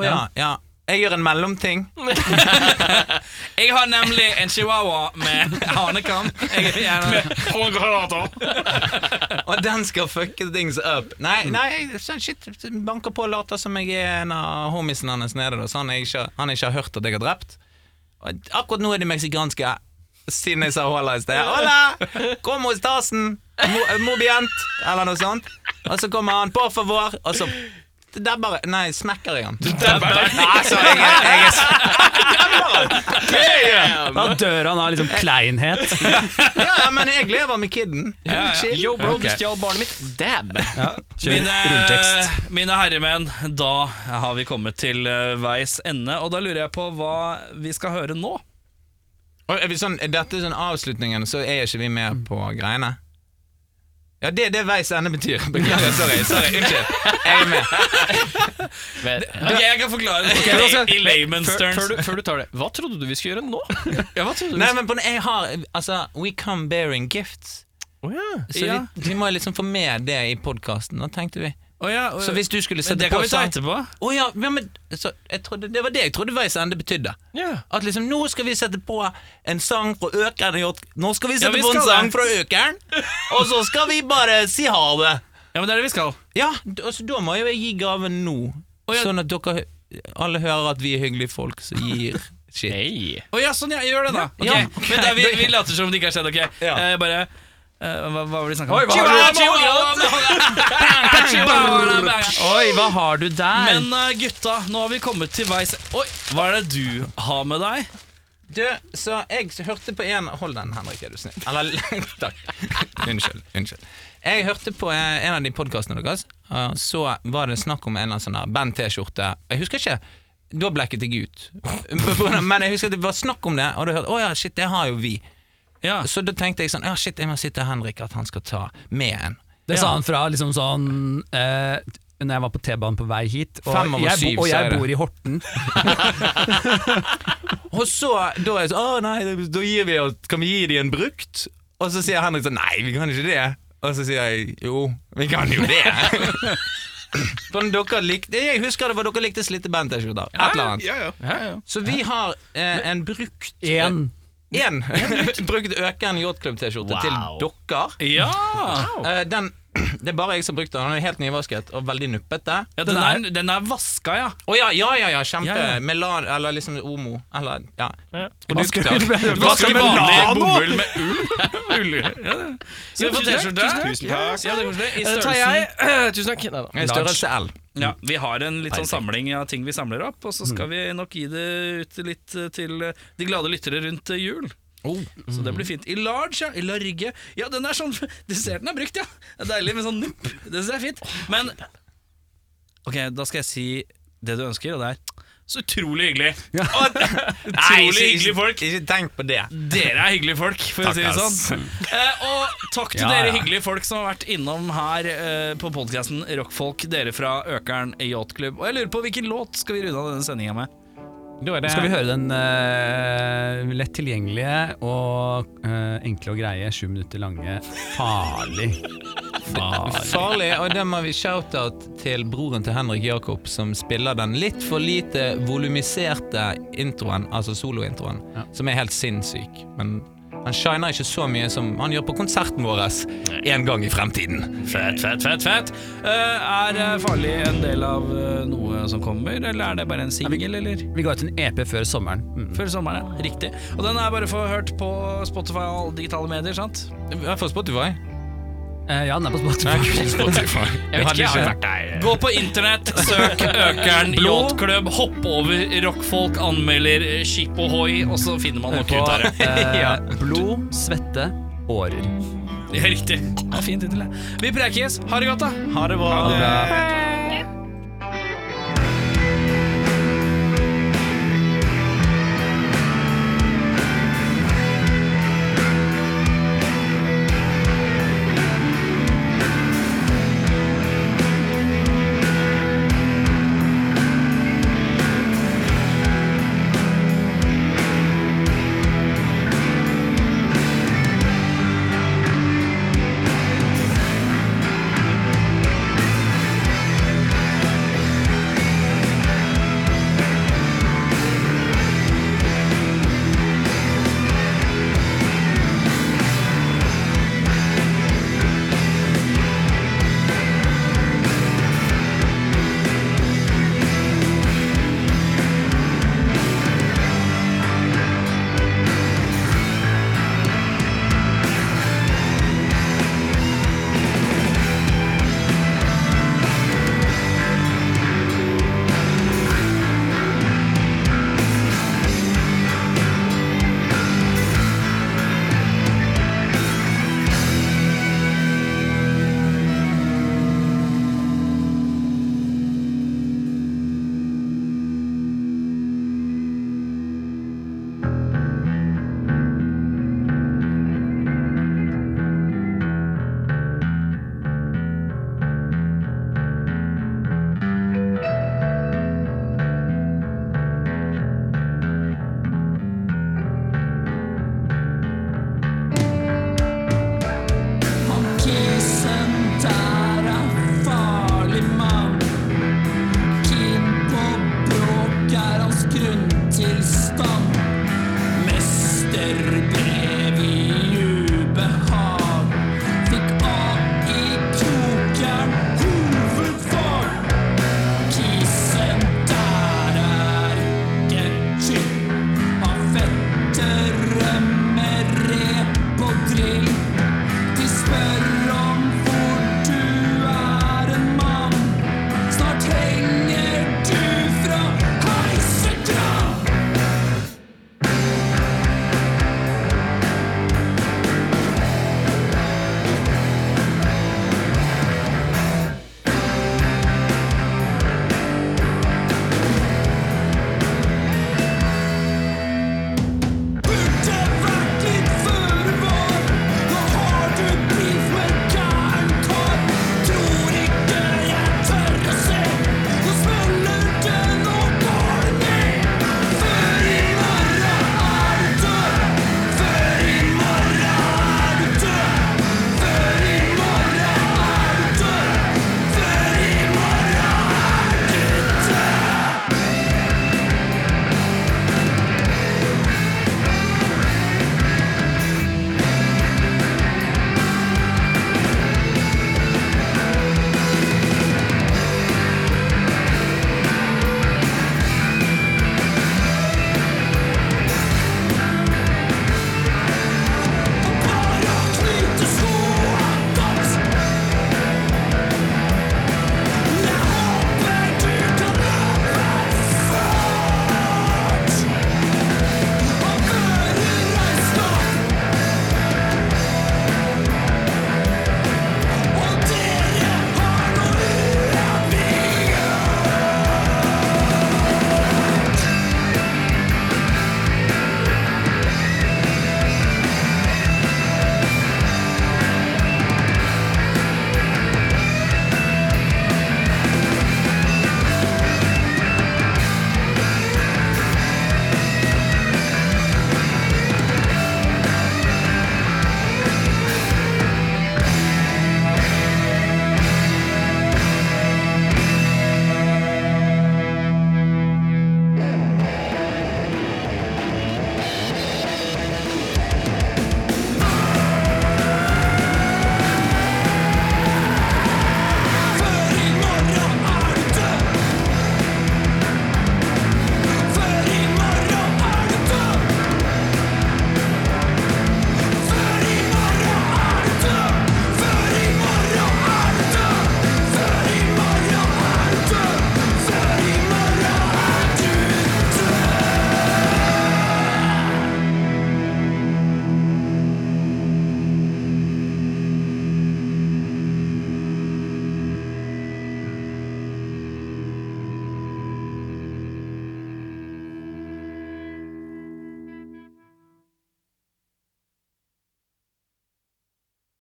Å ja. ja. Jeg gjør en mellomting. Jeg har nemlig en chihuahua med hanekam. Jeg er gjerne- Og den skal fucke things up. Nei, nei, jeg- sånn shit. Banker på og later som jeg er en av homiesen hans nede, da, så han, er ikke, han ikke har hørt at jeg har drept. Og akkurat nå er de meksikanske, siden jeg sa hola i sted. Hola! Kom hos Tasen! Mo- Mobient! Eller noe sånt. Og så kommer han, por favor, og så der bare, Nei, smekker jeg han. Nei, altså, jeg, er- jeg, er- Da dør han av Eh. liksom kleinhet. ja, men jeg lever med kiden. Chill. Yo, bro, du stjal barnet mitt. Dab! Mine, mine herremenn, da har vi kommet til eh, veis ende, og da lurer jeg på hva vi skal høre nå. Og er vi sånn, er dette sånn avslutningen, så er ikke vi med på greiene? Ja, det er det veis ende betyr. Beklager, sorry. sorry, Unnskyld. Jeg er med. Ok, jeg kan forklare det da skal- i layman's Før, terms. før, du, før du tar det, hva trodde du vi skulle gjøre nå? Ja, hva trodde du? Nei, men på, den- jeg har Altså, we come bearing gifts. Å, ja. Så vi, vi må liksom få med det i podkasten, tenkte vi. Å ja, og- Så hvis sånn- du skulle men sette det kan på vi ta sang- etterpå. Å ja, ja, men så, jeg trodde, Det var det jeg trodde veis ende betydde. Ja. At liksom, nå skal vi sette på en sang fra Økeren. og Hjort- Nå skal vi sette vi på en skal det. sang fra Økeren, og så skal vi bare si ha det. Ja, men det er det vi skal. Ja, d- altså da må jo jeg gi gaven nå. Sånn at dere alle hører at vi er hyggelige folk som gir shit. Hey. Å ja, sånn, ja, gjør det, da. Ok, Ja, ok. Men da, vi, vi later som det ikke har skjedd, ok? Eh, bare eh, hva, hva var det de snakka om? har du- Chihuahua! Oi, hva har du der? Men eh, gutta, nå har vi kommet til veis Oi, hva er det du har med deg? Du, så jeg hørte på en Hold den, Henrik, er du snill. Eller Takk. Unnskyld. Unnskyld. Jeg hørte på eh, en av de podkastene deres, og så var det snakk om en eller annen sånn der Band T-skjorte. Jeg husker ikke. Da blekket jeg ut. Men jeg husker at det var snakk om det, og da hørte jeg å ja, shit, det har jo vi. Ja. Så da tenkte jeg sånn Ja, shit, jeg må si til Henrik at han skal ta med en. Det sa han fra liksom sånn eh, Når jeg var på T-banen på vei hit, og, Fem over jeg, syv, bo, og sier jeg jeg det. bor i Horten. Og så da er jeg sånn Å nei, da gir vi oss Kan vi gi de en brukt? Og så sier Henrik sånn Nei, vi kan ikke det. Og så sier jeg jo, vi kan jo det. Men dere likte Jeg husker det var dere likte slitte band-T-skjorter. Et eller annet. Ja, ja. Så vi har eh, en brukt En, En brukt Økern Yachtklubb-T-skjorte til dere. Ja. Eh, den Det er bare jeg som har brukt den. Den er helt nyvasket og veldig nuppete. ja den, er, den er vaska, ja. Å ja, ja, ja, ja, kjempe. Ja, ja. Melan, eller liksom Omo. Eller, ja. Vasker du med Vasker med vanlig bomull med ull. ull. Ja. det. Så vi får T-skjorte. Tusen takk. Ja, det er koselig. I Det Eh, tar størrelsen jeg. Tusen takk. Neida. I størrelse L. Ja, vi har en litt sånn samling av ting vi samler opp, og så skal vi nok gi det ut litt eh, til eh, de glade lyttere rundt eh, jul. Så det blir fint. I large, ja. I large. Ja, den er sånn Desserten er brukt, ja. Det er deilig med sånn nupp. Det synes jeg er fint. Men Ok, da skal jeg si det du ønsker, og det er så utrolig hyggelig. Og- Utrolig ikke- hyggelige folk. Ikke tenk på det. Dere er hyggelige folk, for å si det sånn. Eh, og takk til dere hyggelige folk som har vært innom her eh, på podkasten Rockfolk, dere fra Økern Yachtklubb. Og jeg lurer på hvilken låt skal vi runde av denne sendinga med? skal vi høre den eh, lett tilgjengelige og eh, enkle og greie, sju minutter lange Farlig. Farlig. Farlig, og det må vi shout-out til broren til Henrik Jakob, som spiller den litt for lite volumiserte introen, altså solointroen, som er helt sinnssyk. Men han shiner ikke så mye som han gjør på konserten vår en gang i fremtiden. Fett, fett, fett. fett Eh, Er eh, Farlig en del av eh, noe som kommer, eller er det bare en singel, eller? Vi ga ut en EP før sommeren. Mm. Før sommeren, ja. Riktig. Og den er bare for hørt på Spotify og alle digitale medier, sant? I hvert fall Spotify. Eh, ja, den er på Spotify. Spotify. Jeg vet ikke, jeg har vært der. Gå på internett, søk Økern Yachtklubb, hopp over rockfolk, anmelder eh, Skip Ohoi, og så finner man nok ut av det. Eh, Blod, svette, årer. Det er riktig. Det er fin tittel, det. Vi prekes. Ha det godt, da. Ha det bra. Hei.